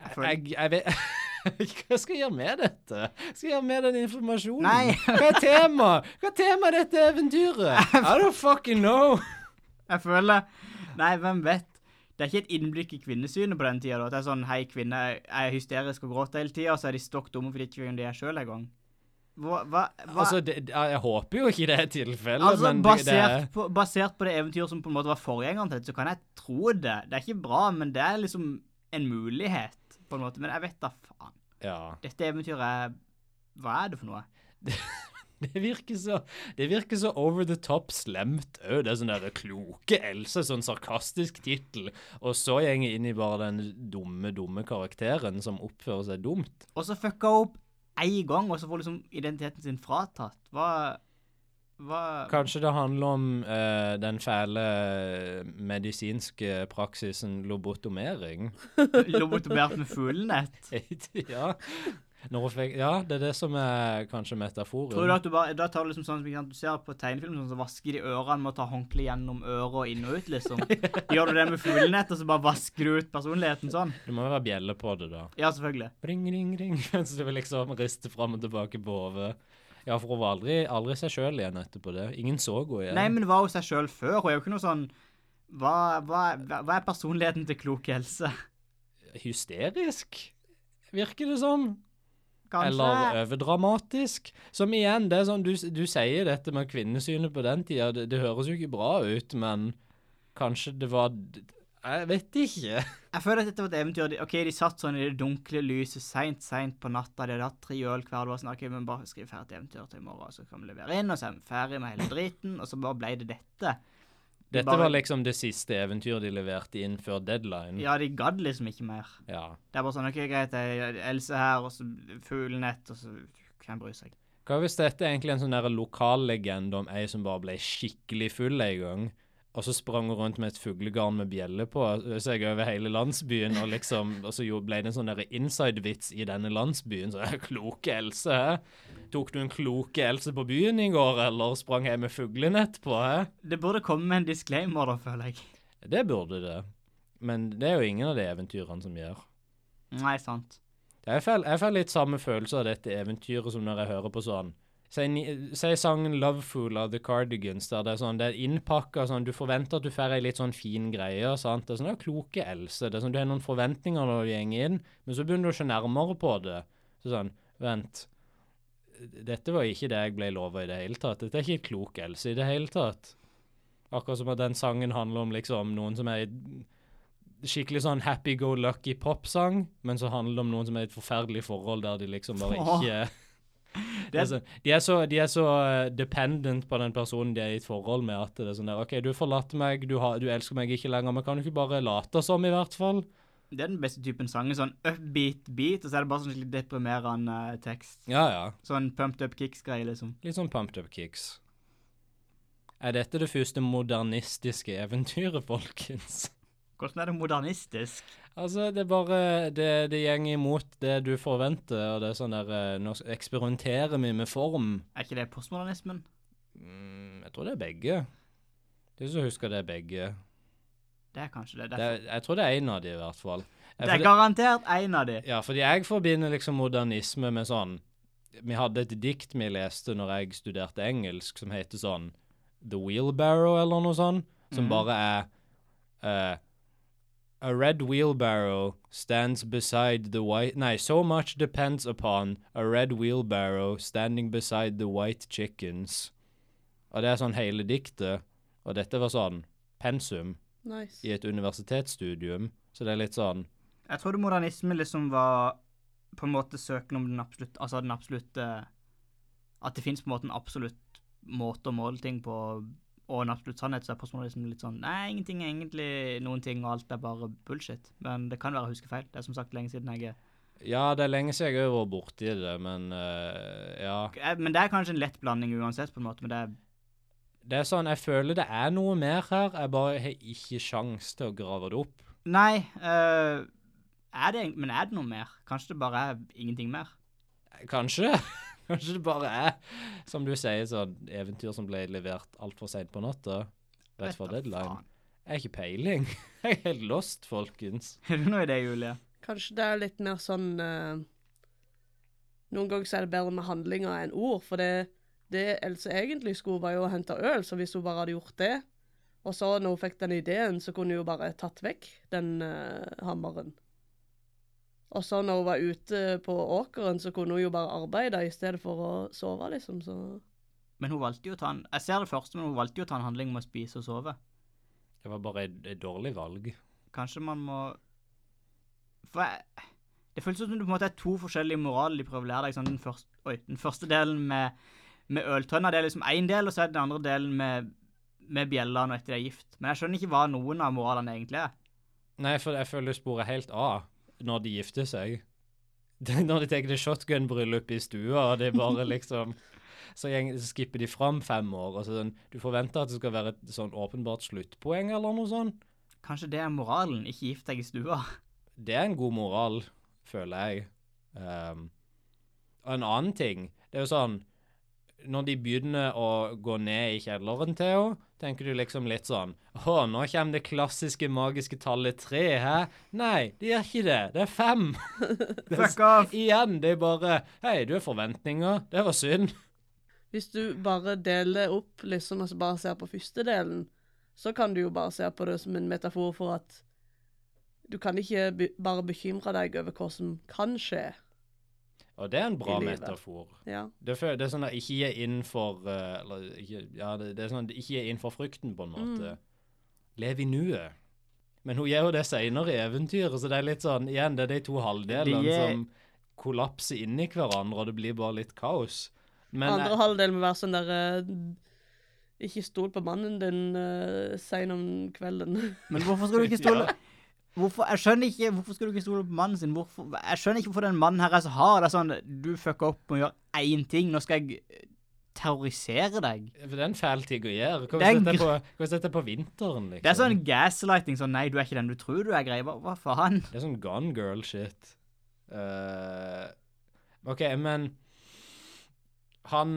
Speaker 2: Jeg føler-
Speaker 1: Jeg, jeg vet jeg vet ikke hva jeg skal gjøre med dette. Jeg skal gjøre med den informasjonen.
Speaker 2: Nei.
Speaker 1: Hva er temaet? Hva er temaet i dette eventyret? I don't fucking know.
Speaker 2: Jeg føler Nei, hvem vet? Det er ikke et innblikk i kvinnesynet på den tida. da, At det er sånn hei, kvinner er hysteriske og gråter hele tida, og så er de stokk dumme fordi de ikke vet hvem de er sjøl engang. Hva, hva, hva?
Speaker 1: Altså, det, det- jeg håper jo ikke det er tilfellet,
Speaker 2: Altså,
Speaker 1: men det, det
Speaker 2: basert,
Speaker 1: er
Speaker 2: på, basert på det eventyret som på en måte var forgjengeren til dette, så kan jeg tro det. Det er ikke bra, men det er liksom en mulighet, på en måte. Men jeg vet da faen.
Speaker 1: Ja.
Speaker 2: Dette eventyret er Hva er det for noe?
Speaker 1: Det virker så, det virker så over the top slemt òg. Det er sånn der kloke Else, sånn sarkastisk tittel. Og så går jeg inn i bare den dumme, dumme karakteren som oppfører seg dumt.
Speaker 2: Og så fucka hun opp én gang, og så får liksom identiteten sin fratatt. Hva Hva
Speaker 1: Kanskje det handler om eh, den fæle eh, medisinske praksisen lobotomering?
Speaker 2: Lobotomert med fuglenett?
Speaker 1: ja. Når hun fikk, ja, det er det som er kanskje metaforen.
Speaker 2: Tror du at du bare, da tar du liksom sånn som ikke sant, du ser på tegnefilm, sånn, så vasker de ørene med å ta håndkle gjennom øret og inn og ut, liksom. Gjør du det med fuglenett, og så bare vasker du ut personligheten sånn?
Speaker 1: Det må jo være bjelle på det, da.
Speaker 2: Ja, selvfølgelig.
Speaker 1: Ring, ring, ring. Mens du liksom rister fram og tilbake på hodet. Ja, for hun var aldri, aldri seg sjøl igjen etterpå det. Ingen så henne igjen.
Speaker 2: Nei, men var hun seg sjøl før? Hun er jo ikke noe sånn hva, hva, hva hva er personligheten til klok helse?
Speaker 1: Hysterisk, virker det som. Eller
Speaker 2: Kanskje?
Speaker 1: overdramatisk. Som igjen, det er sånn du, du sier dette med kvinnesynet på den tida, det, det høres jo ikke bra ut, men kanskje det var Jeg vet ikke.
Speaker 2: Jeg føler at dette var et eventyr. de- Ok, De satt sånn i det dunkle lyset seint, seint på natta. De hadde hatt tre øl hver. Det var sånn, ok, men bare skriv ferdig et eventyr til i morgen, og så kan vi levere inn, og så er vi ferdig med hele driten. Og så bare ble det dette.
Speaker 1: Dette
Speaker 2: Bare-
Speaker 1: var liksom det siste eventyret de leverte inn før deadline.
Speaker 2: Ja, de gadd liksom ikke mer.
Speaker 1: ja.
Speaker 2: Det er bare sånn OK, greit, det er Else her, og så fuglenett, og så Hvem bryr seg?
Speaker 1: Hva hvis dette er egentlig en sånn der lokal legende om ei som bare ble skikkelig full en gang, og så sprang hun rundt med et fuglegarn med bjelle på seg over hele landsbyen, og liksom, og så jo- ble det en sånn der inside-vits i denne landsbyen, så kloke Else, hæ? Tok du en kloke Else på byen i går, eller sprang jeg med fuglenett på, hæ?
Speaker 2: Det burde komme med en disclaimer, da, føler jeg.
Speaker 1: Det burde det. Men det er jo ingen av de eventyrene som gjør.
Speaker 2: Nei, sant.
Speaker 1: Jeg får, jeg får litt samme følelse av dette eventyret som når jeg hører på sånn Si, ni- si sangen 'Lovefool' av The Cardigans, der det er sånn, det er innpakka sånn Du forventer at du får ei litt sånn fin greie, sant? Det er sånn ja, kloke Else. Det er sånn, Du har noen forventninger når du går inn, men så begynner du å se nærmere på det. Så sånn Vent. Dette var ikke det jeg ble lova i det hele tatt. Dette er ikke klok Else i det hele tatt. Akkurat som at den sangen handler om liksom noen som er i skikkelig sånn happy-go-lucky popsang, men så handler det om noen som er i et forferdelig forhold der de liksom bare
Speaker 2: Åh.
Speaker 1: ikke det er sånn, de, er så, de er så eh, dependent på den personen de er i et forhold med, at det er sånn der OK, du forlater meg, du, har, du elsker meg ikke lenger, men kan du ikke bare late som, i hvert fall?
Speaker 2: Det er den beste typen sanger. Sånn upbeat beat, og så er det bare sånn skikkelig deprimerende eh, tekst.
Speaker 1: Ja, ja.
Speaker 2: Sånn pumped up kicks-greie, liksom.
Speaker 1: Litt sånn pumped up kicks. Er dette det første modernistiske eventyret, folkens?
Speaker 2: Hvordan er det modernistisk?
Speaker 1: Altså, det er bare Det, det går imot det du forventer, og det er sånn der eh, Nå eksperimenterer vi med form.
Speaker 2: Er ikke det postmodernismen?
Speaker 1: Mm, jeg tror det er begge. Det er så husker det er begge.
Speaker 2: Det er kanskje det.
Speaker 1: Det,
Speaker 2: Derfor.
Speaker 1: er- jeg tror det er en av de i hvert fall.
Speaker 2: Det er garantert en av de.
Speaker 1: Ja, fordi jeg forbinder liksom modernisme med sånn Vi hadde et dikt vi leste når jeg studerte engelsk, som heter sånn The Wheelbarrow, eller noe sånt, som bare er eh, A red wheelbarrow stands beside the white Nei, so much depends upon a red wheelbarrow standing beside the white chickens. Og det er sånn hele diktet. Og dette var sånn pensum
Speaker 3: Nice.
Speaker 1: i et universitetsstudium, så det er litt sånn
Speaker 2: Jeg trodde modernisme liksom var på en måte søken om den absolutte Altså den absolutte At det fins på en måte en absolutt måte å måle ting på, og en absolutt sannhet, så er postmodernisme litt sånn Nei, ingenting er egentlig noen ting, og alt er bare bullshit. Men det kan være jeg husker feil. Det er som sagt lenge siden jeg er
Speaker 1: Ja, det er lenge siden jeg har vært borti det, men eh, ja.
Speaker 2: Eh, Men det er kanskje en lett blanding uansett, på en måte. Men det er
Speaker 1: Det er sånn, jeg føler det er noe mer her, jeg bare har ikke sjans til å grave det opp.
Speaker 2: Nei. eh, er det, men er det noe mer? Kanskje det bare er ingenting mer?
Speaker 1: Kanskje? Kanskje det bare er, som du sier, sånn eventyr som ble levert altfor seint på natta. Rett før
Speaker 2: da
Speaker 1: deadline.
Speaker 2: faen.
Speaker 1: Jeg har ikke peiling. Jeg er helt lost, folkens.
Speaker 2: Er det noe i det, Julie?
Speaker 3: Kanskje det er litt mer sånn eh, Noen ganger så er det bedre med handlinger enn ord, for det, det Else egentlig skulle, var jo å hente øl, så hvis hun bare hadde gjort det Og så, når hun fikk den ideen, så kunne hun jo bare tatt vekk den eh, hammeren. Og så, når hun var ute på åkeren, så kunne hun jo bare arbeide i stedet for å sove, liksom, så
Speaker 2: Men hun valgte jo å ta en Jeg ser det første, men hun valgte jo å ta en handling med å spise og sove.
Speaker 1: Det var bare et, et dårlig valg.
Speaker 2: Kanskje man må For jeg Det føles som det på en måte er to forskjellige moraler de prøver å lære deg. Sånn, den, første, oi, den første delen med, med øltønna, det er liksom én del, og så er det den andre delen med, med bjellene og etter de er gift. Men jeg skjønner ikke hva noen av moralene egentlig er.
Speaker 1: Nei, for jeg føler sporet helt av når de gifter seg. Det- Når de tar det shotgun-bryllup i stua, og det er bare liksom så, gjeng, så skipper de fram fem år. og så sånn, Du forventer at det skal være et sånn åpenbart sluttpoeng eller noe sånt.
Speaker 2: Kanskje det er moralen, ikke gift deg i stua.
Speaker 1: Det er en god moral, føler jeg. Ehm, og en annen ting Det er jo sånn Når de begynner å gå ned i kjelleren til henne, tenker du liksom litt sånn Å, nå kommer det klassiske magiske tallet tre, hæ? Nei, det gjør ikke det. Det er fem.
Speaker 2: Fuck off!
Speaker 1: Igjen, det er bare Hei, du har forventninger. Det var synd.
Speaker 3: Hvis du bare deler opp, liksom, altså bare ser på første delen, så kan du jo bare se på det som en metafor for at du kan ikke be bare bekymre deg over hva som kan skje.
Speaker 1: Og det er en bra
Speaker 3: I livet.
Speaker 1: metafor.
Speaker 3: Ja.
Speaker 1: Det, fø- det er sånn at ikke gi inn for eh, Eller ikke, ja, det, det er sånn at ikke gi inn for frykten,
Speaker 2: Mm.
Speaker 1: på en måte. Lev i nuet. Men hun gjør jo det seinere i eventyret, så det er litt sånn Igjen, det er de to halvdelene
Speaker 2: De er-
Speaker 1: som kollapser inni hverandre, og det blir bare litt kaos. Men
Speaker 3: Andre
Speaker 1: jeg,
Speaker 3: halvdel må være sånn der eh, Ikke stol på mannen din uh, sein om kvelden.
Speaker 2: Men hvorfor skal du ikke stole Hvorfor, jeg skjønner ikke, hvorfor skal du ikke stole på mannen sin? Hvorfor, jeg skjønner ikke hvorfor den mannen her er så hard. Det er sånn, du fucker opp med å gjøre én ting, nå skal jeg eh, terrorisere deg.
Speaker 1: eh, for det er en fæl ting å gjøre. Hva
Speaker 2: Det
Speaker 1: hvis
Speaker 2: er en
Speaker 1: dette er på, hva hvis dette er på vinteren, liksom?
Speaker 2: Det er sånn gaslighting, sånn nei, du er ikke den du tror du er, greier. Hva, hva faen?
Speaker 1: Det er sånn gone girl shit. Eh, OK, men han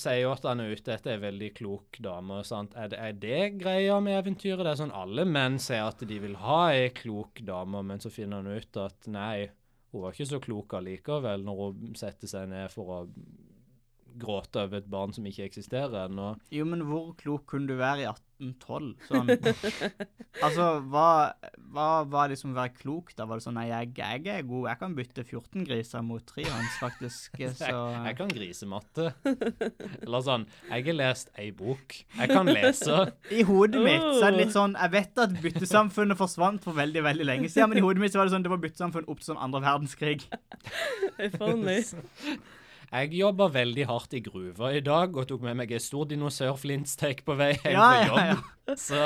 Speaker 1: sier jo at han er ute etter ei veldig klok dame. Sant? Er, det, er det greia med eventyret? Det er sånn Alle menn sier at de vil ha ei klok dame, men så finner han ut at nei, hun var ikke så klok allikevel når hun setter seg ned for å gråte over et barn som ikke eksisterer ennå.
Speaker 2: Jo, men hvor klok kunne du være i 1812? Sånn. altså, hva, hva var liksom å være klok da? Var det sånn nei, jeg, jeg er god, jeg kan bytte 14 griser mot tre hans, faktisk, eh,
Speaker 1: Jeg,
Speaker 2: så
Speaker 1: jeg kan grisematte. Eller sånn Jeg har lest ei bok. Jeg kan lese.
Speaker 2: I hodet mitt så er det litt sånn Jeg vet at byttesamfunnet forsvant for veldig veldig lenge siden, men i hodet mitt så var det sånn det var byttesamfunn opp til sånn andre verdenskrig.
Speaker 3: If only.
Speaker 1: Jeg jobba veldig hardt i gruva i dag og tok med meg en stor dinosaur-flintsteik på vei hjem
Speaker 2: Ja,
Speaker 1: fra
Speaker 2: ja, ja.
Speaker 1: jobb. Så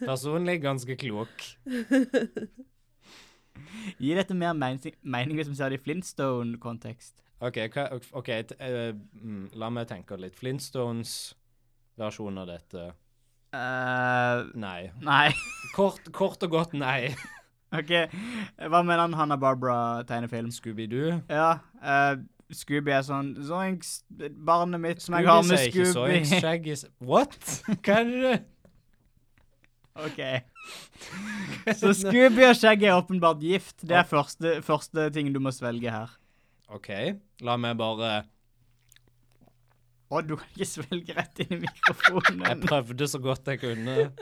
Speaker 1: personlig ganske klok.
Speaker 2: Gi dette mer mening, mening hvis vi ser det i Flintstone-kontekst.
Speaker 1: OK, hva, ok, t eh, mm, la meg tenke litt. Flintstones versjon av dette.
Speaker 2: eh
Speaker 1: Nei.
Speaker 2: nei,
Speaker 1: Kort, kort og godt nei.
Speaker 2: OK. Hva mener han Hanna Barbara-tegnefilm?
Speaker 1: Scooby-Doo.
Speaker 2: Ja, eh, Scooby er sånn Zoinks, barnet mitt som jeg har
Speaker 1: Scooby
Speaker 2: med
Speaker 1: sier ikke
Speaker 2: Scooby.
Speaker 1: Soinks, Shaggy s- What? Hva er det?
Speaker 2: OK. Så Scooby og skjegget er åpenbart gift. Det er første, første ting du må svelge her.
Speaker 1: OK, la meg bare
Speaker 2: Å, du kan ikke svelge rett inn i
Speaker 1: Jeg
Speaker 2: mikrofonen.
Speaker 1: prøvde så godt jeg kunne.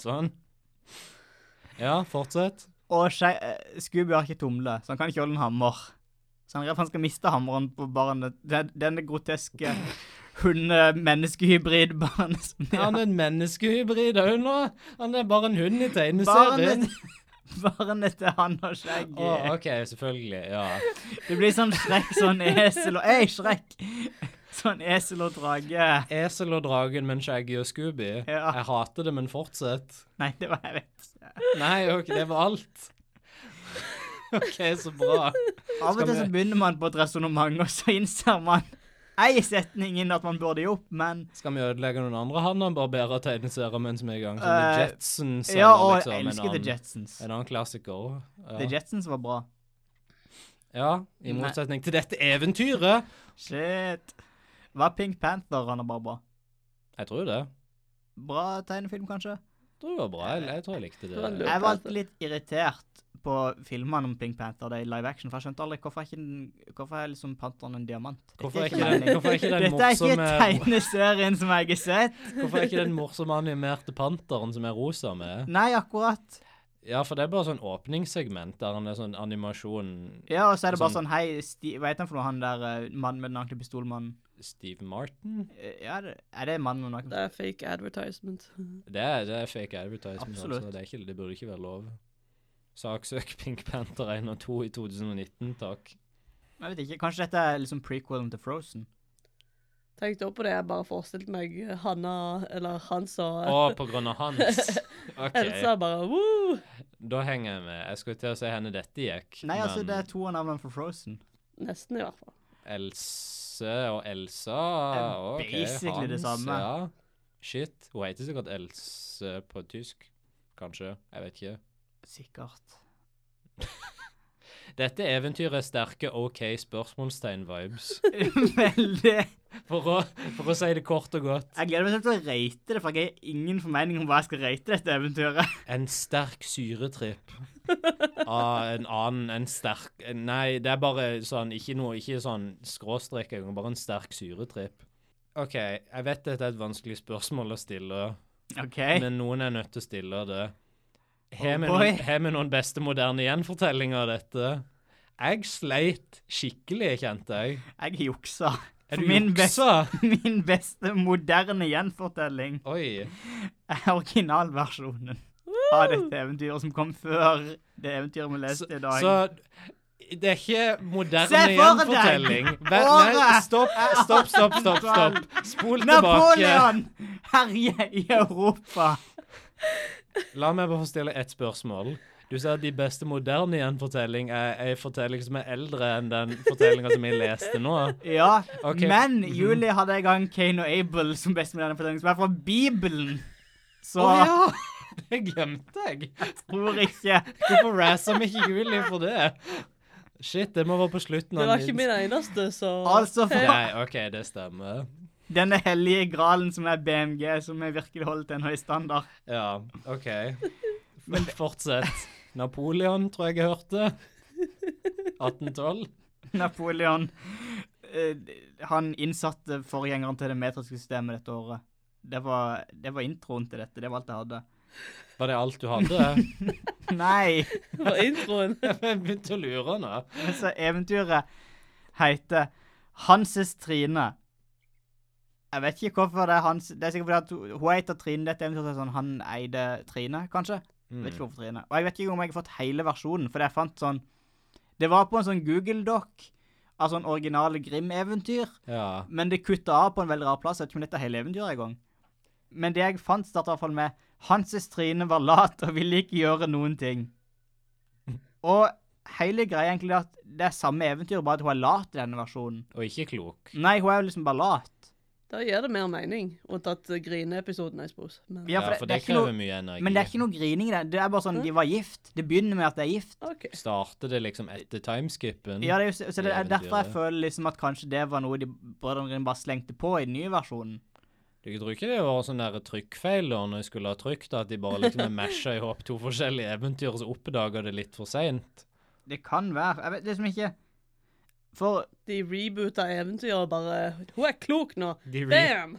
Speaker 1: Sånn. Ja, fortsett.
Speaker 2: Og skje- eh, Scooby har ikke tomle, så han kan ikke holde en hammer. Så han er redd for han skal miste hammeren på barnet. Den- Denne groteske hunde-menneskehybrid-barnet som
Speaker 1: Er han en menneskehybrid òg nå? Han er bare en hund i tegneserien.
Speaker 2: Barnet, barnet til han og skjegget.
Speaker 1: Å, OK, selvfølgelig. Ja.
Speaker 2: Det blir sånn Shrek, sånn esel og Ei, Shrek! Sånn esel og drage.
Speaker 1: Esel og dragen, men Shaggy og Scooby.
Speaker 2: Ja.
Speaker 1: Jeg hater det, men fortsett.
Speaker 2: Nei, det var jeg vet ikke.
Speaker 1: Nei, OK, det var alt. OK, så bra.
Speaker 2: Av og til så
Speaker 1: vi-
Speaker 2: begynner man på et resonnement, og så innser man ei setning inn at man burde gi opp, men
Speaker 1: Skal vi ødelegge noen andre Hanna-barberer tegneserier mens vi er i gang? Som
Speaker 2: Eh,
Speaker 1: The Jetsons
Speaker 2: Ja, og
Speaker 1: liksom,
Speaker 2: jeg
Speaker 1: en
Speaker 2: elsker The
Speaker 1: annen-
Speaker 2: Jetsons.
Speaker 1: En annen klassiker. Ja.
Speaker 2: The Jetsons var bra.
Speaker 1: ja, I
Speaker 2: Nei.
Speaker 1: motsetning til dette eventyret.
Speaker 2: Shit. Var Pink Panther Anna Barbara?
Speaker 1: Jeg tror det.
Speaker 2: Bra tegnefilm, kanskje?
Speaker 1: Jeg tror det var bra. Jeg, jeg tror jeg likte
Speaker 3: Det var
Speaker 1: det.
Speaker 3: lurt.
Speaker 2: Jeg var alltid litt irritert på filmene om Pink Panther det er i live action, for jeg skjønte aldri hvorfor er, ikke den, hvorfor er liksom panteren en diamant. Dette
Speaker 1: Hvorfor er ikke
Speaker 2: ikke
Speaker 1: den,
Speaker 2: meningen.
Speaker 1: hvorfor er ikke den
Speaker 2: Dette er ikke
Speaker 1: morsomme
Speaker 2: tegneserien som jeg har sett.
Speaker 1: Hvorfor er ikke den morsomme animerte panteren som er rosa med?
Speaker 2: Nei, akkurat.
Speaker 1: Ja, for det er bare sånn åpningssegment der han er sånn animasjon
Speaker 2: Ja, og så er det bare
Speaker 1: Sånn-
Speaker 2: sånn Hei, Steve, hva heter han for noe, han der eh, mannen med den nakne pistolmannen?
Speaker 1: Steve Martin.
Speaker 2: Eh, Ja, det- er det mannen med den nakne
Speaker 3: Det er fake advertisement.
Speaker 1: Det er, det er fake advertisement.
Speaker 2: Absolutt.
Speaker 1: Altså. Det, er ikke, det burde ikke være lov. Saksøk Pink Panther 1 og 2 i 2019, takk.
Speaker 2: Jeg vet ikke, Kanskje dette er liksom prequelen til Frozen?
Speaker 3: Tenkte også på det, jeg bare forestilte meg Hanna, eller Hans og
Speaker 1: Å, på grunn av hans. OK.
Speaker 3: Elsa bare woo!
Speaker 1: Da henger jeg med. Jeg skulle til å si henne dette gikk.
Speaker 2: Nei, altså,
Speaker 1: men
Speaker 2: det er to av navnene for Frozen.
Speaker 3: Nesten, i hvert fall.
Speaker 1: Else og Elsa
Speaker 2: er
Speaker 1: og ok,
Speaker 2: basically det
Speaker 1: Hans,
Speaker 2: samme.
Speaker 1: Ja. Shit. Hun heter sikkert Else på tysk. Kanskje. Jeg vet ikke.
Speaker 2: Sikkert.
Speaker 1: Dette eventyret er sterke OK spørsmålstegn-vibes.
Speaker 2: Veldig.
Speaker 1: For, å- for å si det kort og godt.
Speaker 2: Jeg gleder meg til å rate det, for jeg har ingen formening om hva jeg skal rate dette eventyret.
Speaker 1: En sterk syretripp av en annen En sterk Nei, det er bare sånn Ikke noe Ikke sånn skråstrek engang, bare en sterk syretripp. OK, jeg vet dette er et vanskelig spørsmål å stille,
Speaker 2: OK?
Speaker 1: men noen er nødt til å stille det. Har vi
Speaker 2: Oh boy.
Speaker 1: noen, har vi noen beste moderne gjenfortellinger av dette? Jeg sleit skikkelig, kjente jeg.
Speaker 2: Jeg juksa.
Speaker 1: Er
Speaker 2: For
Speaker 1: du
Speaker 2: min
Speaker 1: juksa?
Speaker 2: Min beste moderne gjenfortelling
Speaker 1: Oi.
Speaker 2: er originalversjonen av dette eventyret som kom før det eventyret vi
Speaker 1: Så,
Speaker 2: leste i dag.
Speaker 1: så det er ikke moderne
Speaker 2: Se for deg!
Speaker 1: gjenfortelling. Vær, nei,
Speaker 2: Året!
Speaker 1: stopp, stopp, stopp, stopp. stopp. Spol tilbake.
Speaker 2: Napoleon herjer i Europa.
Speaker 1: La meg bare få stille ett spørsmål. Du sier at de beste moderne gjenfortelling er ei fortelling som er eldre enn den fortellinga som jeg leste nå.
Speaker 2: Ja,
Speaker 1: Ok. Mhm.
Speaker 2: men Julie hadde en gang Cain og Abel som beste moderne fortelling, som er fra Bibelen. Så
Speaker 1: Å ja! Det glemte jeg.
Speaker 2: tror ikke
Speaker 1: Hvorfor razzer vi ikke Willy for det? Shit, det må være på slutten
Speaker 3: Det
Speaker 1: av
Speaker 3: var ikke
Speaker 1: den-
Speaker 3: min eneste, så
Speaker 2: Altså, for
Speaker 1: Nei, OK, det stemmer.
Speaker 2: denne hellige gralen som er BMG, som er virkelig holdt til en høy standard.
Speaker 1: Ja, OK. Men fortsett. Napoleon, tror jeg jeg hørte. 1812.
Speaker 2: Napoleon eh, Han innsatte forgjengeren til det metriske systemet dette året. Det var, det var introen til dette. Det var alt jeg hadde.
Speaker 1: Var det alt du hadde?
Speaker 2: Nei!
Speaker 3: det var introen.
Speaker 1: Jeg begynte å lure nå.
Speaker 2: Så altså, eventyret heter Hanses Trine. Jeg vet ikke hvorfor det er Hans Det er sikkert fordi at hun- hun heter Trine. Dette eventyret er sånn Han eide Trine, kanskje?
Speaker 1: Mm,
Speaker 2: Jeg vet ikke hvorfor Trine. Og jeg vet ikke om jeg har fått hele versjonen, for jeg fant sånn Det var på en sånn Google-doc av sånn originale Grim-eventyr.
Speaker 1: Ja.
Speaker 2: Men det kutta av på en veldig rar plass. Jeg vet ikke om dette er hele eventyret engang. Men det jeg fant, starta iallfall med Hanses Trine var lat og ville ikke gjøre noen ting. Og hele greia er egentlig er at det er samme eventyr, bare at hun er lat i denne versjonen.
Speaker 1: Og ikke klok.
Speaker 2: Nei, hun er jo liksom bare lat.
Speaker 3: Da gir det mer mening, unntatt eh, grineepisoden, jeg suppose. Men
Speaker 2: Ja, for det-
Speaker 1: for
Speaker 2: det er
Speaker 1: det
Speaker 2: ikke
Speaker 1: krever
Speaker 2: noe-
Speaker 1: mye energi.
Speaker 2: Men det er ikke noe grining i det. Det er bare sånn, de var gift. Det begynner med at de er gift.
Speaker 3: OK.
Speaker 1: Starter det liksom etter timeskippen?
Speaker 2: Ja, det er jo, så- så det er
Speaker 1: Eventyret.
Speaker 2: derfor jeg føler liksom at kanskje det var noe de Brødrene Grimm bare slengte på i den nye versjonen.
Speaker 1: Du tror ikke det var sånn der trykkfeil da, når jeg skulle ha trykt, at de bare liksom masha i hop to forskjellige eventyr, og så oppdaga det litt for seint?
Speaker 2: Det kan være. Jeg vet liksom ikke For
Speaker 3: De reboota eventyret og bare Hun er klok nå!
Speaker 1: De re-
Speaker 3: Bam!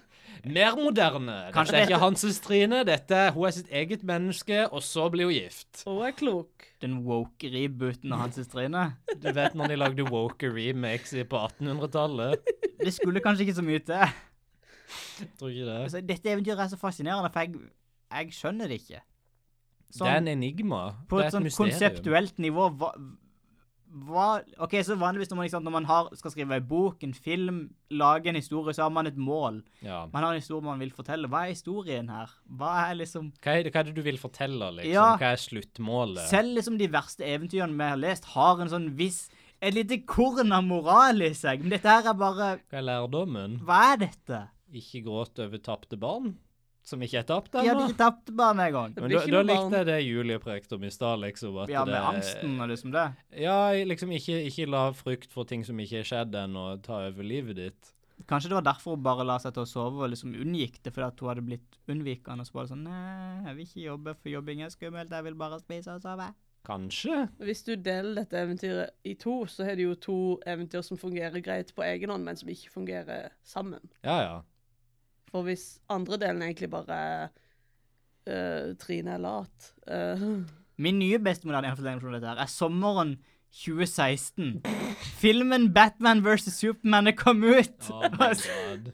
Speaker 1: Mer moderne. Dette
Speaker 2: Kanskje
Speaker 1: er ikke Hanses Trine, dette er hun er sitt eget menneske, og så blir hun gift.
Speaker 3: Hun er klok.
Speaker 2: den woke-rebooten av Hans Trine.
Speaker 1: Du vet når de lagde woke remakes i- på 1800-tallet?
Speaker 2: Det skulle kanskje ikke så mye til.
Speaker 1: Tror ikke det.
Speaker 2: Altså, dette eventyret er så fascinerende, for jeg, jeg skjønner det ikke.
Speaker 1: det er en
Speaker 2: Sånn,
Speaker 1: enigma.
Speaker 2: på
Speaker 1: det er
Speaker 2: et sånn konseptuelt nivå hva, hva OK, så vanligvis når man, ikke sant, når man har, skal skrive en bok, en film, lage en historie, så har man et mål.
Speaker 1: Ja.
Speaker 2: Man har en historie man vil fortelle. Hva er historien her? Hva er liksom
Speaker 1: Hva er, det- hva er det du vil fortelle, liksom?
Speaker 2: Ja.
Speaker 1: Hva er sluttmålet?
Speaker 2: Selv liksom de verste eventyrene vi har lest, har en sånn viss Et lite korn av moral i seg. Men dette her er bare
Speaker 1: Hva er lærdommen?
Speaker 2: Hva er dette?
Speaker 1: Ikke gråt over tapte barn, som ikke er tapt
Speaker 2: De hadde
Speaker 1: ennå.
Speaker 2: ikke tapt barn en gang.
Speaker 1: Men
Speaker 3: blir
Speaker 1: da, da
Speaker 3: ikke noe barn.
Speaker 1: likte jeg det Julie prekte om i stad, liksom. At
Speaker 2: Ja,
Speaker 1: det,
Speaker 2: med angsten og liksom det.
Speaker 1: Ja, liksom ikke, ikke la frykt for ting som ikke er skjedd ennå, ta over livet ditt.
Speaker 2: Kanskje det var derfor hun bare la seg til å sove og liksom unngikk det, fordi at hun hadde blitt unnvikende. Og så var det sånn Nei, jeg vil ikke jobbe, for jobbing er skummelt. Jeg vil bare spise og sove.
Speaker 1: Kanskje?
Speaker 3: Hvis du deler dette eventyret i to, så har du jo to eventyr som fungerer greit på egen hånd, men som ikke fungerer sammen.
Speaker 1: Ja, ja.
Speaker 3: For hvis andre delen egentlig bare er øh, Trine er lat øh,
Speaker 2: Min nye bestemor hadde en fortelling om dette her, er sommeren 2016. Filmen Batman vs. Superman er kommet ut!
Speaker 1: Oh my god.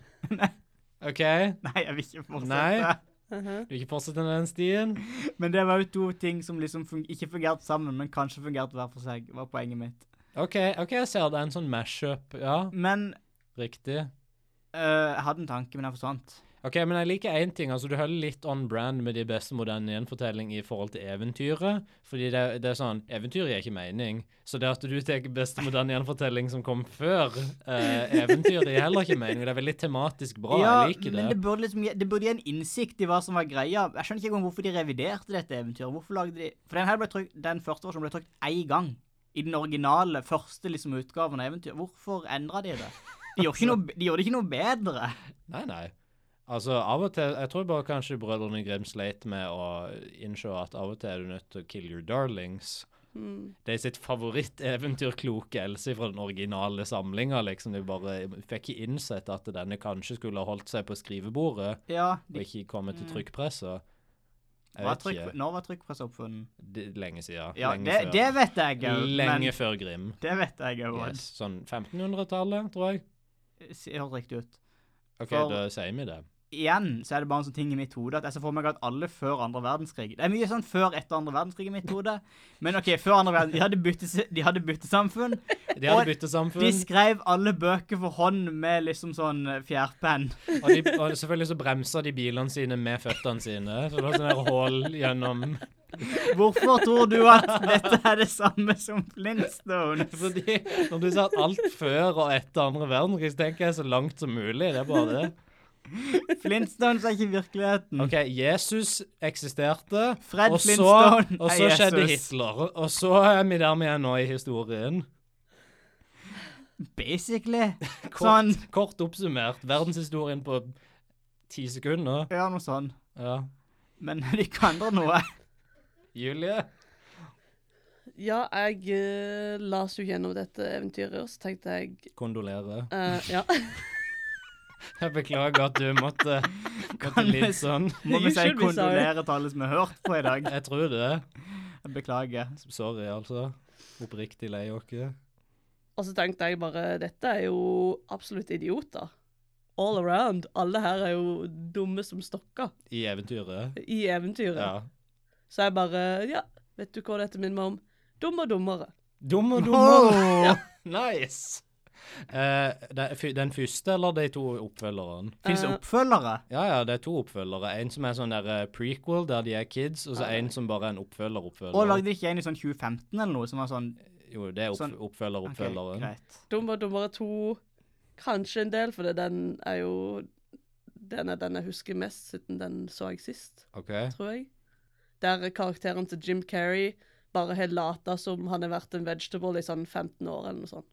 Speaker 1: OK,
Speaker 2: Nei, jeg vil ikke fortsette.
Speaker 1: Nei. du ikke fortsetter den stien?
Speaker 2: Men det var jo to ting som liksom fung ikke fungerte sammen, men kanskje fungerte hver for seg, var poenget mitt.
Speaker 1: OK, ok, jeg ser det er en sånn mash-up. Ja,
Speaker 2: Men
Speaker 1: riktig.
Speaker 2: øh, jeg hadde en tanke, men den forsvant.
Speaker 1: Ok, men jeg liker én ting. altså Du holder litt on brand med de beste moderne gjenfortelling i forhold til eventyret. fordi det, det er sånn, Eventyr gir ikke mening. Så det at du tar beste moderne gjenfortelling som kom før eh, eventyret, gir heller ikke mening. Det er veldig tematisk bra.
Speaker 2: ja,
Speaker 1: jeg liker det.
Speaker 2: men det burde, liksom, gi- det burde gi en innsikt i hva som var greia. Jeg skjønner ikke engang hvorfor de reviderte dette eventyret. Hvorfor lagde de... For den her ble trykt, den første versjonen ble trykt én gang. I den originale, første liksom, utgaven av eventyret. Hvorfor endra de det? De gjorde, ikke noe, de gjorde ikke noe bedre.
Speaker 1: Nei, nei. Altså, av og til, Jeg tror bare kanskje Brødrene Grim sleit med å innse at av og til er du nødt til å kill your darlings.
Speaker 3: hmm.
Speaker 1: Det er sitt favoritteventyr Kloke Else fra den originale samlinga. liksom. De bare fikk ikke innsett at denne kanskje skulle ha holdt seg på skrivebordet
Speaker 2: Ja,
Speaker 1: og
Speaker 2: de,
Speaker 1: ikke kommet til
Speaker 3: Mm.
Speaker 1: trykkpressa. Jeg
Speaker 2: var
Speaker 1: vet
Speaker 2: trykk,
Speaker 1: ikke.
Speaker 2: når var trykkpressa oppfunnet?
Speaker 1: Det, lenge siden.
Speaker 2: Ja,
Speaker 1: lenge
Speaker 2: det,
Speaker 1: før.
Speaker 2: det vet jeg òg.
Speaker 1: lenge før Grim.
Speaker 2: Det vet jeg òg.
Speaker 1: Yes, sånn 1500-tallet, tror jeg.
Speaker 2: Høres riktig ut.
Speaker 1: OK,
Speaker 2: For-
Speaker 1: da sier vi det.
Speaker 2: Igjen så er det bare en sånn ting i mitt hode at jeg ser for meg at alle før andre verdenskrig Det er mye sånn før etter andre verdenskrig i mitt hode. Men OK, før andre verdenskrig De hadde, bytte, de hadde byttesamfunn.
Speaker 1: De
Speaker 2: Og
Speaker 1: hadde byttesamfunn.
Speaker 2: De skrev alle bøker for hånd med liksom sånn eh, fjærpenn.
Speaker 1: Og, de, og selvfølgelig så bremsa de bilene sine med føttene sine. Så det var sånn der hull gjennom
Speaker 2: Hvorfor tror du at dette er det samme som Flintstones?
Speaker 1: Fordi Når du sa at alt før og etter andre verdenskrig, så tenker jeg så langt som mulig. Det er bare det.
Speaker 2: Flintstones er ikke virkeligheten.
Speaker 1: OK, Jesus eksisterte,
Speaker 2: Fred
Speaker 1: og så,
Speaker 2: Flintstone
Speaker 1: og
Speaker 2: er
Speaker 1: så skjedde
Speaker 2: Jesus.
Speaker 1: Hitler. Og så er vi der vi er nå i historien.
Speaker 2: Basically.
Speaker 1: Kort,
Speaker 2: Sånn.
Speaker 1: kort oppsummert. Verdenshistorien på ti sekunder.
Speaker 2: Ja, noe sånn.
Speaker 1: Ja.
Speaker 2: Men de kan da noe.
Speaker 1: Julie?
Speaker 3: Ja, jeg øh, las jo gjennom dette eventyret, og så tenkte jeg
Speaker 1: Kondolerer.
Speaker 3: øh, Ja.
Speaker 1: Jeg beklager at du måtte, måtte
Speaker 2: Kan vi-
Speaker 1: litt sånn.
Speaker 2: Må
Speaker 3: You
Speaker 2: vi si
Speaker 3: should be sorry.
Speaker 2: kondolerer til alle som har hørt på i dag.
Speaker 1: Jeg tror det.
Speaker 2: Beklager.
Speaker 1: Sorry, altså. Oppriktig lei oss.
Speaker 3: Og så tenkte jeg bare dette er jo absolutt idioter. All around. Alle her er jo dumme som stokker
Speaker 1: I eventyret.
Speaker 3: i eventyret.
Speaker 1: Ja.
Speaker 3: Så jeg bare Ja, vet du hva dette minner meg om? Dum og dummere.
Speaker 1: Dum og dummer.
Speaker 2: Oh!
Speaker 1: Nice! Eh, det er fy- den første eller de to oppfølgerne?
Speaker 2: Fins
Speaker 3: Eh,
Speaker 2: oppfølgere?
Speaker 1: Ja, ja, det er to oppfølgere. En som er sånn der eh, prequel, der de er kids, og så en som bare er en
Speaker 2: Og
Speaker 1: oppfølger-oppfølger.
Speaker 2: lagde de ikke en i sånn 2015 eller noe som var sånn
Speaker 1: Jo, det er
Speaker 2: sånn-
Speaker 1: opp,
Speaker 2: ok,
Speaker 1: oppfølger-oppfølgeren.
Speaker 2: greit.
Speaker 3: Dum og dummere to, kanskje en del, for det- den er jo den er den jeg husker mest, siden den så jeg sist,
Speaker 1: OK.
Speaker 3: tror jeg. Der karakteren til Jim Carrey bare har lata som han har vært en vegetable i sånn 15 år eller noe sånt.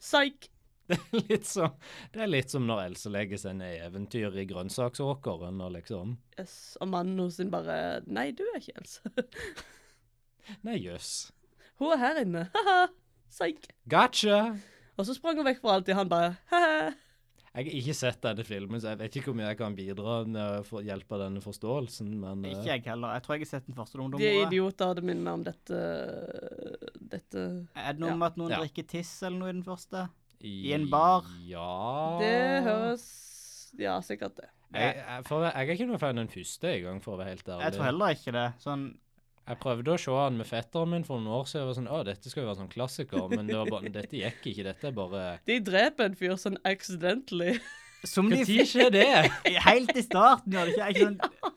Speaker 3: Psyk!
Speaker 1: Det er litt som, det er litt som når Else legger seg ned i eventyr i grønnsaksåkeren og liksom
Speaker 3: Yes. Og mannen hos sin bare Nei, du er ikke Else.
Speaker 1: Nei, jøss.
Speaker 3: Hun er her inne. Ha-ha. Psyk.
Speaker 1: Gotcha!
Speaker 3: Og så sprang hun vekk fra alltid. Han bare «Haha».
Speaker 1: Jeg har ikke sett denne filmen, så jeg vet ikke hvor mye jeg kan bidra med for å hjelpe denne forståelsen, men
Speaker 2: Ikke
Speaker 1: eh,
Speaker 2: jeg heller. Jeg tror jeg har sett den første noen
Speaker 3: De er
Speaker 2: år.
Speaker 3: idioter. Det minner meg om dette Dette
Speaker 2: Er det noe
Speaker 3: Ja.
Speaker 2: med at noen
Speaker 1: Ja.
Speaker 2: drikker tiss eller noe i den første? i en bar.
Speaker 1: eh, Ja
Speaker 3: Det høres Ja, sikkert det.
Speaker 1: Jeg, jeg, for, jeg er ikke noe fan av den første i gang, for å være helt ærlig.
Speaker 2: Jeg tror heller ikke det. Sånn,
Speaker 1: Jeg prøvde å se han med fetteren min for noen år siden. Jeg var sånn, å, dette skal jo være sånn klassiker, men det var bare, dette gikk ikke. Dette er bare
Speaker 3: De dreper en fyr sånn accidentally.
Speaker 2: som de
Speaker 1: Når skjer det?
Speaker 2: Helt i starten, gjør det ikke? Jeg, sånn,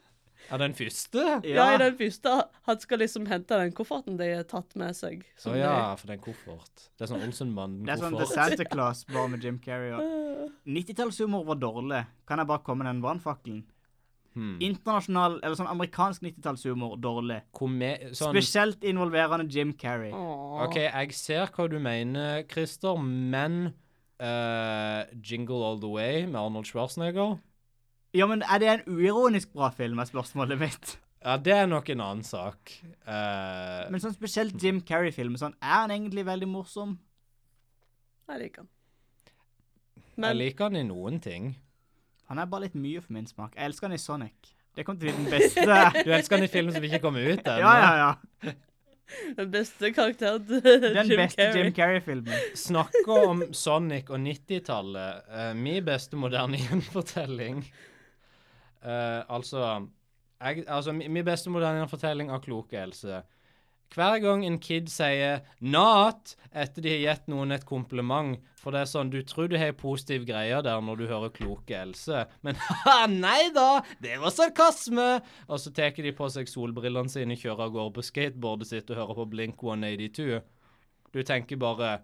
Speaker 1: Er den første?
Speaker 3: Ja. i den første. Han skal liksom hente den kofferten de har tatt med seg.
Speaker 1: Å
Speaker 3: som
Speaker 1: ja, for den koffert. Det er sånn
Speaker 2: Det er sånn The
Speaker 1: Olsenbanden-koffert.
Speaker 2: Santa Claus bare med Jim Carrey.
Speaker 3: de-
Speaker 2: og- 90-tallshumor var dårlig. Kan jeg bare komme med den brannfakkelen?
Speaker 1: Hmm.
Speaker 2: Internasjonal, eller sånn amerikansk 90-tallshumor, dårlig.
Speaker 1: Kome- Sånn,
Speaker 2: Spesielt involverende Jim Carrey.
Speaker 3: Åh.
Speaker 1: OK, jeg ser hva du mener, Christer, men eh, Jingle All The Way med Arnold Schwarzenegger
Speaker 2: Ja, men er det en uironisk bra film, er spørsmålet mitt.
Speaker 1: Ja, det er nok en annen sak. Eh,
Speaker 2: Men sånn spesielt Jim Carrey-filmer, sånn, er han egentlig veldig morsom?
Speaker 3: Jeg liker den.
Speaker 1: jeg
Speaker 3: Men
Speaker 1: liker han i noen ting.
Speaker 2: Han er bare litt mye for min smak. Jeg elsker han i Sonic. Det kom til å bli den beste.
Speaker 1: Du elsker han i film som ikke kom ut ennå.
Speaker 2: Ja, ja, ja.
Speaker 3: den beste karakteren til
Speaker 2: Den
Speaker 3: Jim
Speaker 2: beste
Speaker 3: Carrey
Speaker 2: Jim Carrey-filmen.
Speaker 1: Snakker om Sonic og 90-tallet. eh, min beste moderne gjenfortelling. Eh, altså, jeg, altså mi- Min beste moderne gjenfortelling av kloke Else. Hver gang en kid sier 'not' etter de har gitt noen et kompliment For det er sånn, du tror du har positive greier der når du hører kloke Else, men ha nei da, det var sarkasme! Og så tar de på seg solbrillene sine, kjører av gårde på skateboardet sitt og hører på Blink 182. Du tenker bare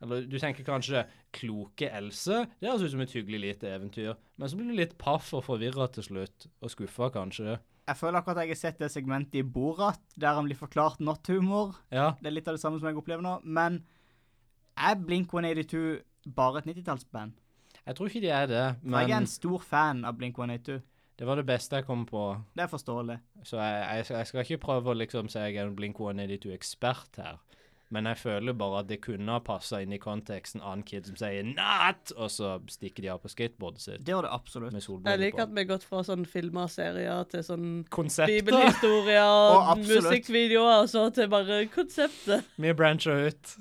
Speaker 1: eller du tenker kanskje 'Kloke Else'. Det høres ut som et hyggelig lite eventyr. Men så blir du litt paff og forvirra til slutt. Og skuffa, kanskje.
Speaker 2: Jeg føler akkurat jeg har sett det segmentet i Borat, der han blir forklart natthumor.
Speaker 1: Ja.
Speaker 2: Det er litt av det samme som jeg opplever nå, men er Blink-182 bare et 90-tallsband?
Speaker 1: Jeg tror ikke de er det,
Speaker 2: For Jeg er
Speaker 1: men
Speaker 2: en stor fan av Blink-182.
Speaker 1: det var det beste jeg kom på.
Speaker 2: Det er forståelig.
Speaker 1: Så jeg, jeg, jeg skal ikke prøve å liksom si jeg er en Blink-182-ekspert her. Men jeg føler bare at det kunne ha passa inn i konteksten av en kid som sier 'not', og så stikker de av på skateboardet sitt
Speaker 2: Det gjør det absolutt.
Speaker 1: med
Speaker 3: Jeg
Speaker 1: solbriller
Speaker 3: liker
Speaker 1: på.
Speaker 3: at vi har gått fra sånn filmer og serier til sånn
Speaker 1: Konseptet!
Speaker 3: bibelhistorier
Speaker 2: Å,
Speaker 3: og
Speaker 2: absolutt.
Speaker 3: musikkvideoer og så til bare konseptet.
Speaker 1: Vi brancher ut.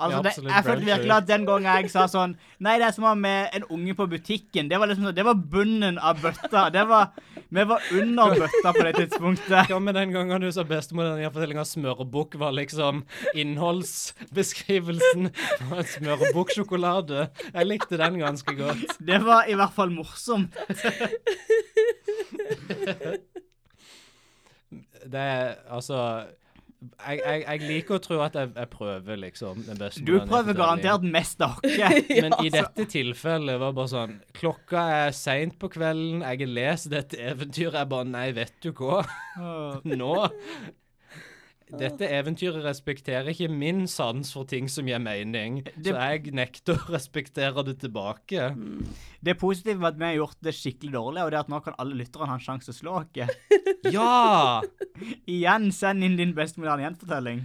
Speaker 2: Altså,
Speaker 1: Ja,
Speaker 2: det,
Speaker 1: absolutt
Speaker 2: jeg følte
Speaker 1: brancher.
Speaker 2: virkelig at den gangen jeg sa sånn Nei, det er som å ha med en unge på butikken. Det var liksom sånn, det var bunnen av bøtta. Det var, vi var under bøtta på det tidspunktet.
Speaker 1: Hva med den gangen du sa bestemor i den fortellinga smørbukk var liksom innholdsbeskrivelsen på en smørbukksjokolade? Jeg likte den ganske godt.
Speaker 2: Det var i hvert fall morsomt.
Speaker 1: Det er altså jeg, jeg, jeg liker å tro at jeg, jeg prøver, liksom. den beste
Speaker 2: Du
Speaker 1: moderne
Speaker 2: prøver
Speaker 1: fortelling.
Speaker 2: garantert mest av oss.
Speaker 1: Men i
Speaker 3: altså.
Speaker 1: dette tilfellet var det bare sånn Klokka er seint på kvelden, jeg har lest dette eventyret. Jeg bare Nei, vet du hva? Nå Dette eventyret respekterer ikke min sans for ting som gir mening,
Speaker 2: Det- Mm.
Speaker 1: så jeg nekter å respektere det tilbake.
Speaker 2: Det positive med at vi har gjort det skikkelig dårlig, og det er at nå kan alle lytterne ha en sjanse til å slå oss.
Speaker 1: Ja!
Speaker 2: Igjen, send inn din beste moderne gjenfortelling.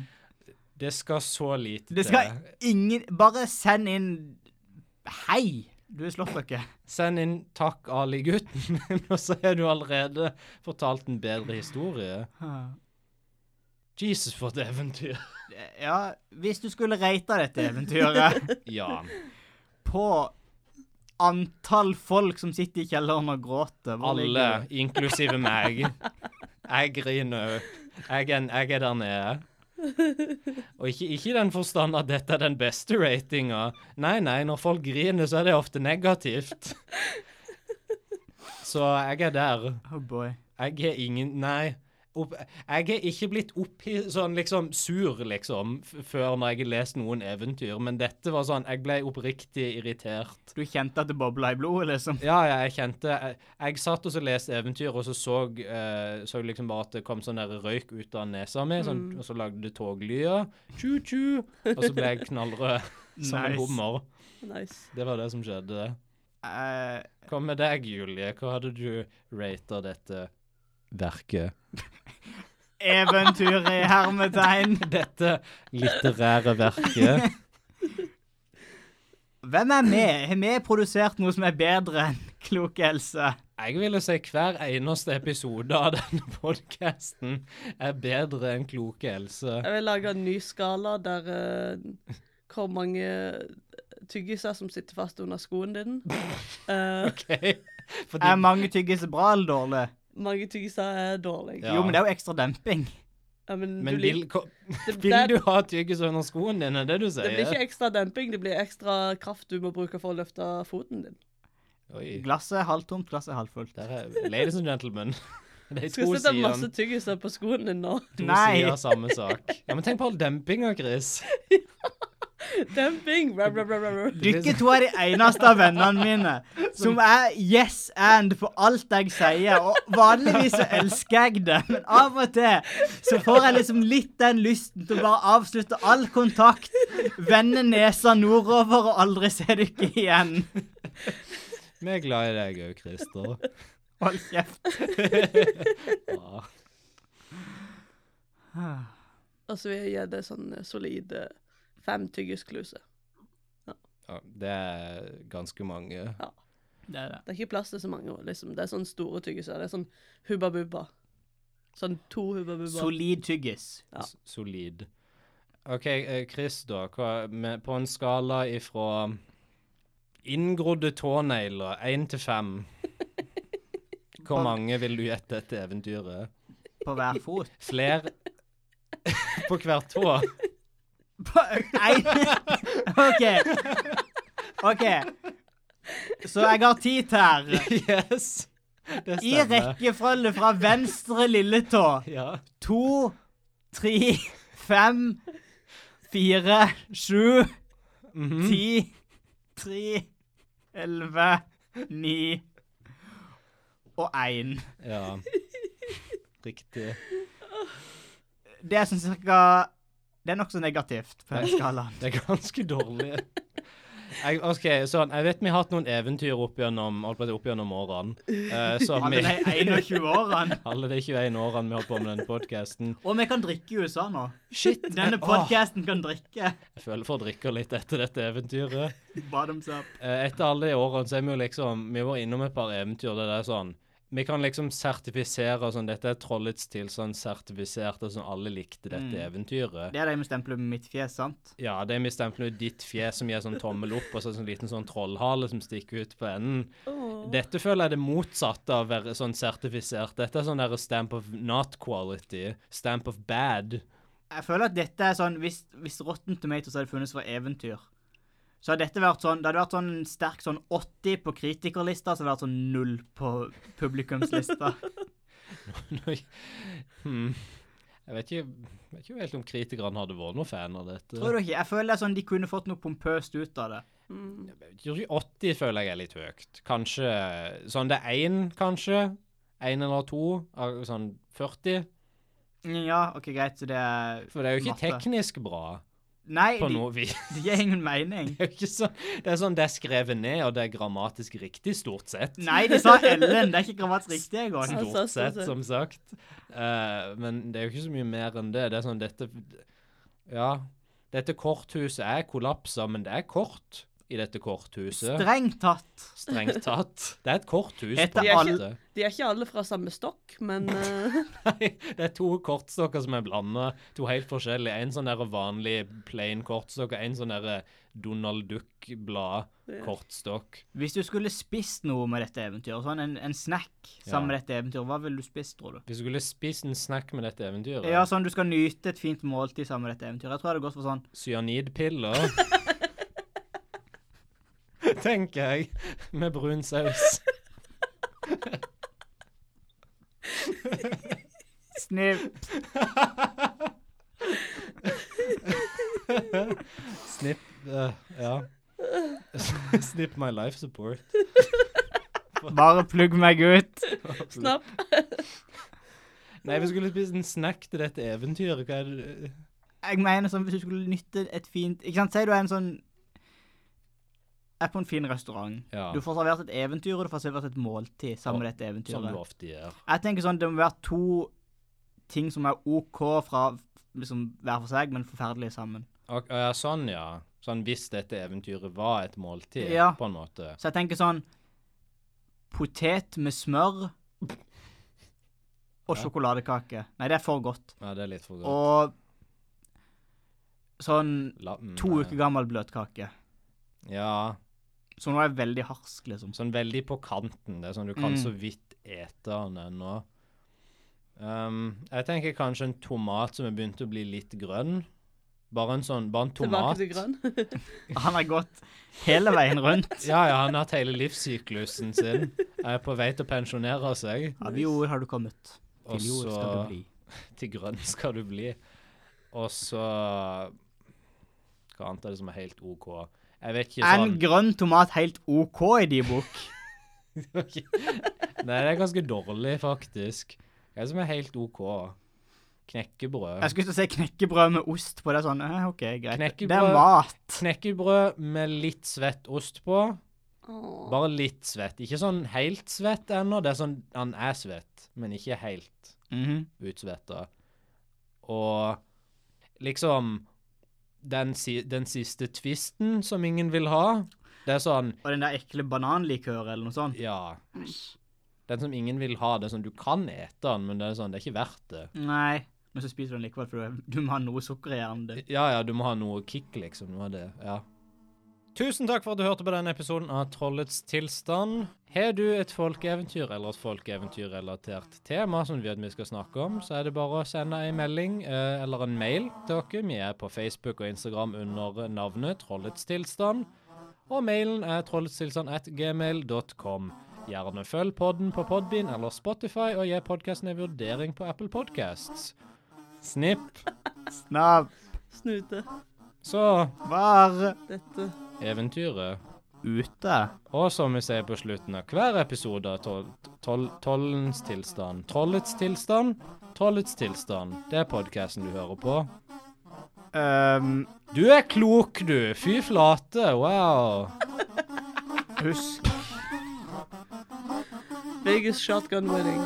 Speaker 1: Det skal så lite
Speaker 2: Det skal ingen Bare send inn Hei! Du har slått dere.
Speaker 1: Send inn 'Takk, Ali-gutten min', og så har du allerede fortalt en bedre historie. Jesus, for et eventyr.
Speaker 2: Ja, hvis du skulle rate dette eventyret
Speaker 1: Ja.
Speaker 2: på antall folk som sitter i kjelleren og gråter hvor ligger
Speaker 1: Alle,
Speaker 2: det?
Speaker 1: inklusive meg. Jeg griner òg. Jeg, er- jeg er der nede. Og ikke, ikke i den forstand at dette er den beste ratinga. Nei, nei, når folk griner, så er det ofte negativt. Så jeg er der.
Speaker 2: Oh boy.
Speaker 1: Jeg er ingen Nei. Opp, jeg er ikke blitt opphi- sånn liksom sur, liksom, f før når jeg har lest noen eventyr, men dette var sånn Jeg ble oppriktig irritert.
Speaker 2: Du kjente at det bobla i blodet, liksom?
Speaker 1: Ja, ja, jeg kjente Jeg, jeg satt og så leste eventyr, og så så, eh, så liksom bare at det kom sånn der røyk ut av nesa mi, sånn, og så lagde det toglyder. Tju-tju. Og så ble jeg knallrød. som en
Speaker 2: Nice.
Speaker 1: hummer.
Speaker 3: Nice.
Speaker 1: Det var det som skjedde.
Speaker 2: Eh,
Speaker 1: Hva med deg, Julie? Hva hadde du rata dette verket?
Speaker 2: eventyr i hermetegn.
Speaker 1: Dette litterære verket?
Speaker 2: Hvem er med? Har vi produsert noe som er bedre enn Klok Else?
Speaker 1: Jeg ville si hver eneste episode av denne podkasten er bedre enn Kloke Else.
Speaker 3: Jeg vil lage en ny skala der eh, hvor mange tyggiser som sitter fast under skoen din. Eh,
Speaker 1: OK?
Speaker 2: Er
Speaker 1: Fordi
Speaker 2: mange tyggis bra eller dårlig?
Speaker 3: mange tyggiser er dårlige.
Speaker 1: Ja.
Speaker 2: Jo, men det er jo ekstra demping.
Speaker 3: Ja, men du
Speaker 1: Men
Speaker 3: lik-
Speaker 1: vil, ko-
Speaker 3: det,
Speaker 1: vil
Speaker 3: det-
Speaker 1: du ha tyggis under skoen din, er det du
Speaker 3: det blir
Speaker 1: sier?
Speaker 3: ikke ekstra demping, det blir ekstra kraft du må bruke for å løfte foten din.
Speaker 1: Oi,
Speaker 2: Glasset er halvtomt, glasset er halvfullt.
Speaker 1: der er Ladies and gentlemen. De
Speaker 3: Skal
Speaker 1: to
Speaker 3: jeg sette masse
Speaker 1: sidene
Speaker 3: tyggiser på skoen din nå?
Speaker 1: to
Speaker 2: Nei.
Speaker 1: sider av samme sak. Ja, Men tenk på all dempinga, Chris.
Speaker 3: Demping! Rub, rub, rub, rub, rub.
Speaker 2: Dere to er de eneste av vennene mine som er yes and på alt jeg sier. Og vanligvis så elsker jeg det, men av og til så får jeg liksom litt den lysten til å bare avslutte all kontakt, vende nesa nordover og aldri se dere igjen.
Speaker 1: Vi er glad i deg òg, Christer.
Speaker 2: Hold kjeft.
Speaker 1: Ja.
Speaker 3: Altså, vi gir det sånn solide fem tyggiskluser.
Speaker 1: Ja, det er ganske mange.
Speaker 2: Det er det.
Speaker 3: Det er ikke plass til så mange. liksom. Det er sånn store tyggiser. Det er sånn hubba bubba. Sånn to hubba bubba.
Speaker 2: Solid tyggis.
Speaker 3: Ja.
Speaker 1: S- Solid. OK, eh, Chris, da. Hva, med, på en skala ifra inngrodde tånegler, én til fem Hvor mange vil du gjette dette eventyret?
Speaker 2: På hver fot.
Speaker 1: Fler på hver tå?
Speaker 2: På en... OK. OK. Så jeg har ti tær.
Speaker 1: Yes! Det
Speaker 2: I
Speaker 1: stemmer.
Speaker 2: rekkefølge fra venstre lilletå.
Speaker 1: Ja.
Speaker 2: To, tre, fem, fire, sju,
Speaker 1: Mhm.
Speaker 2: ti, tre, elleve, ni og én.
Speaker 1: ja. Riktig.
Speaker 2: Det er sånn cirka Det er nokså negativt på den skalaen.
Speaker 1: Det er ganske dårlig. Jeg, ok, sånn, jeg vet vi har hatt noen eventyr opp gjennom, holdt på å si opp gjennom årene. eh, som
Speaker 2: Alle de
Speaker 1: vi,
Speaker 2: 21 årene.
Speaker 1: alle de 21 årene vi holdt på med denne podkasten.
Speaker 2: Og vi kan drikke i USA nå.
Speaker 1: Shit!
Speaker 2: Denne
Speaker 1: jeg,
Speaker 2: podcasten kan drikke.
Speaker 1: åh, jeg føler for å drikke litt etter dette eventyret.
Speaker 2: Bottoms up.
Speaker 1: Eh, etter alle de årene så er vi jo liksom Vi var innom et par eventyr der det er sånn Vi kan liksom sertifisere sånn Dette er trollets tilstand sertifisert, og sånn alle likte dette
Speaker 2: Mm.
Speaker 1: eventyret.
Speaker 2: Det er de med stempelet med mitt fjes, sant?
Speaker 1: Ja, det er bestemt noe ditt fjes som gir sånn tommel opp, og så en sånn liten sånn trollhale som stikker ut på enden.
Speaker 3: Åh.
Speaker 1: Dette føler jeg er det motsatte av å være sånn sertifisert. Dette er sånn der stamp of not quality. Stamp of bad.
Speaker 2: Jeg føler at dette er sånn, hvis, hvis Rotten Tomatoes hadde funnes for eventyr, så hadde dette vært sånn, det hadde vært sånn sterk sånn 80 på kritikerlista, så hadde det vært sånn 0 på publikumslista.
Speaker 1: hmm. Jeg vet ikke, jeg vet ikke helt om kritikerne hadde vært noen fan av dette.
Speaker 2: Tror du ikke? Jeg føler det er sånn de kunne fått noe pompøst ut av det.
Speaker 3: Mm.
Speaker 1: Tror ikke 80 føler jeg er litt høyt. Kanskje sånn det er én, kanskje. Én eller to. av Sånn 40.
Speaker 2: Mm, Ja, ok, greit, så det er...
Speaker 1: For det er jo ikke
Speaker 2: Matte.
Speaker 1: teknisk bra
Speaker 2: Nei,
Speaker 1: på
Speaker 2: det
Speaker 1: noe vis.
Speaker 2: de gir ingen mening.
Speaker 1: Det er jo ikke sånn, det er sånn det er skrevet ned, og det er grammatisk riktig, stort sett.
Speaker 3: Mm.
Speaker 2: Nei, de sa Ellen, det er ikke grammatisk riktig en gang.
Speaker 3: Altså,
Speaker 1: Stort
Speaker 3: stort
Speaker 1: sett,
Speaker 3: sett.
Speaker 1: som sagt. Eh, men det er jo ikke så mye mer enn det. Det er sånn dette Ja. Dette korthuset er kollapsa, men det er kort i dette korthuset.
Speaker 2: Strengt tatt.
Speaker 1: Strengt tatt. Det er et korthus. på
Speaker 2: Etter
Speaker 1: en
Speaker 3: alle-
Speaker 1: måte.
Speaker 3: De er ikke alle fra samme stokk, men eh,
Speaker 1: Nei, det er to kortstokker som er blanda. To helt forskjellige. En sånn der vanlig plain kortstokk og en sånn der Donald
Speaker 3: Ja.
Speaker 1: Duck-blad-kortstokk.
Speaker 2: Hvis du skulle spist noe med dette eventyret, sånn en, en snack sammen med dette eventyret, hva ville du spist, tror du?
Speaker 1: Hvis du skulle spist en snack med dette eventyret
Speaker 2: Ja, sånn du skal nyte et fint måltid sammen med dette eventyret. Jeg tror jeg hadde gått for sånn
Speaker 1: Cyanidpiller. Tenker jeg. Med brun saus.
Speaker 2: sniv.
Speaker 1: Snipp eh, Ja. Snipp my life support.
Speaker 2: Bare plugg meg ut.
Speaker 3: snapp.
Speaker 1: Nei, vi skulle spist en snack til dette eventyret. Hva er det
Speaker 2: Jeg mener sånn hvis du skulle nytte et fint Ikke sant, si du er en sånn er på en fin restaurant.
Speaker 1: Ja,
Speaker 2: Du får servert et eventyr, og du får servert et måltid sammen med dette
Speaker 1: som sånn du
Speaker 2: eventyret.
Speaker 1: ofte gjør.
Speaker 2: Jeg tenker sånn, det må være to ting som er OK fra liksom hver for seg, men forferdelige sammen.
Speaker 1: Ok, ja, sånn, ja. Sånn hvis dette eventyret var et måltid,
Speaker 2: Ja.
Speaker 1: på en måte.
Speaker 2: Så jeg tenker sånn Potet med smør og
Speaker 1: Ja.
Speaker 2: sjokoladekake. Nei, det er for godt.
Speaker 1: Ja, det er litt for godt.
Speaker 2: Og sånn
Speaker 1: La- mm,
Speaker 2: to
Speaker 1: nei.
Speaker 2: uker gammel bløtkake.
Speaker 1: Ja.
Speaker 2: Så nå er jeg veldig harsk, liksom.
Speaker 1: Sånn veldig på kanten. Det er sånn du kan
Speaker 2: Mm.
Speaker 1: så vidt ete den ennå. Um, jeg tenker kanskje en tomat som er begynt å bli litt grønn. Bare en sånn, bare en
Speaker 3: Tilbake
Speaker 1: tomat.
Speaker 3: til grønn.
Speaker 2: Han har gått hele veien rundt.
Speaker 1: Ja, ja, han har hatt hele livssyklusen sin. Er på vei til å pensjonere seg.
Speaker 2: Av jord har du kommet.
Speaker 1: Og
Speaker 2: Til jord skal
Speaker 1: så-
Speaker 2: du bli.
Speaker 1: Til grønn skal du bli. Og så Hva annet er det som er helt OK? Jeg vet ikke
Speaker 2: Er en
Speaker 1: sånn
Speaker 2: grønn tomat helt OK i de bok?
Speaker 1: Nei, det er ganske dårlig, faktisk. Hva er det som er helt OK? Knekkebrød.
Speaker 2: Jeg skulle til å si knekkebrød med ost på det. sånn, eh, ok, greit. Det
Speaker 1: Knekkebrød-
Speaker 2: er mat.
Speaker 1: Knekkebrød med litt svett ost på.
Speaker 3: Åh.
Speaker 1: Bare litt svett. Ikke sånn helt svett ennå. Det er sånn han er svett, men ikke helt
Speaker 2: Mhm.
Speaker 1: utsvetta. Og liksom den, si den siste tvisten som ingen vil ha, det er sånn
Speaker 2: Og den der ekle bananlikøret eller noe sånt.
Speaker 1: Ja. Den som ingen vil ha, det er sånn du kan ete den, men det er sånn, det er ikke verdt det.
Speaker 2: Nei, men så spiser du den likevel, for du, er- du må ha noe sukker i hjernen din.
Speaker 1: Ja, ja, du må ha noe kick, liksom. Du må ha det, ja. Tusen takk for at du hørte på denne episoden av Trollets tilstand. Har du et folkeeventyr eller et folkeeventyrrelatert tema som du vet vi skal snakke om, så er det bare å sende en melding eh, eller en mail til dere. Vi er på Facebook og Instagram under navnet Trollets tilstand. Og mailen er trolletstilstand.gmail.com. Gjerne følg podden på Podbean eller Spotify, og gi podkasten en vurdering på Apple Podcasts. Snipp,
Speaker 2: Snabb,
Speaker 3: Snute.
Speaker 1: så
Speaker 2: var
Speaker 3: Dette.
Speaker 1: eventyret.
Speaker 2: ute.
Speaker 1: Og som vi ser på slutten av hver episode av tol tol Tollens tilstand Trollets tilstand Trollets tilstand. Det er podkasten du hører på.
Speaker 2: Ehm,
Speaker 1: Du er klok, du! Fy flate! Wow!
Speaker 2: husk
Speaker 3: Vegas shotgun wedding.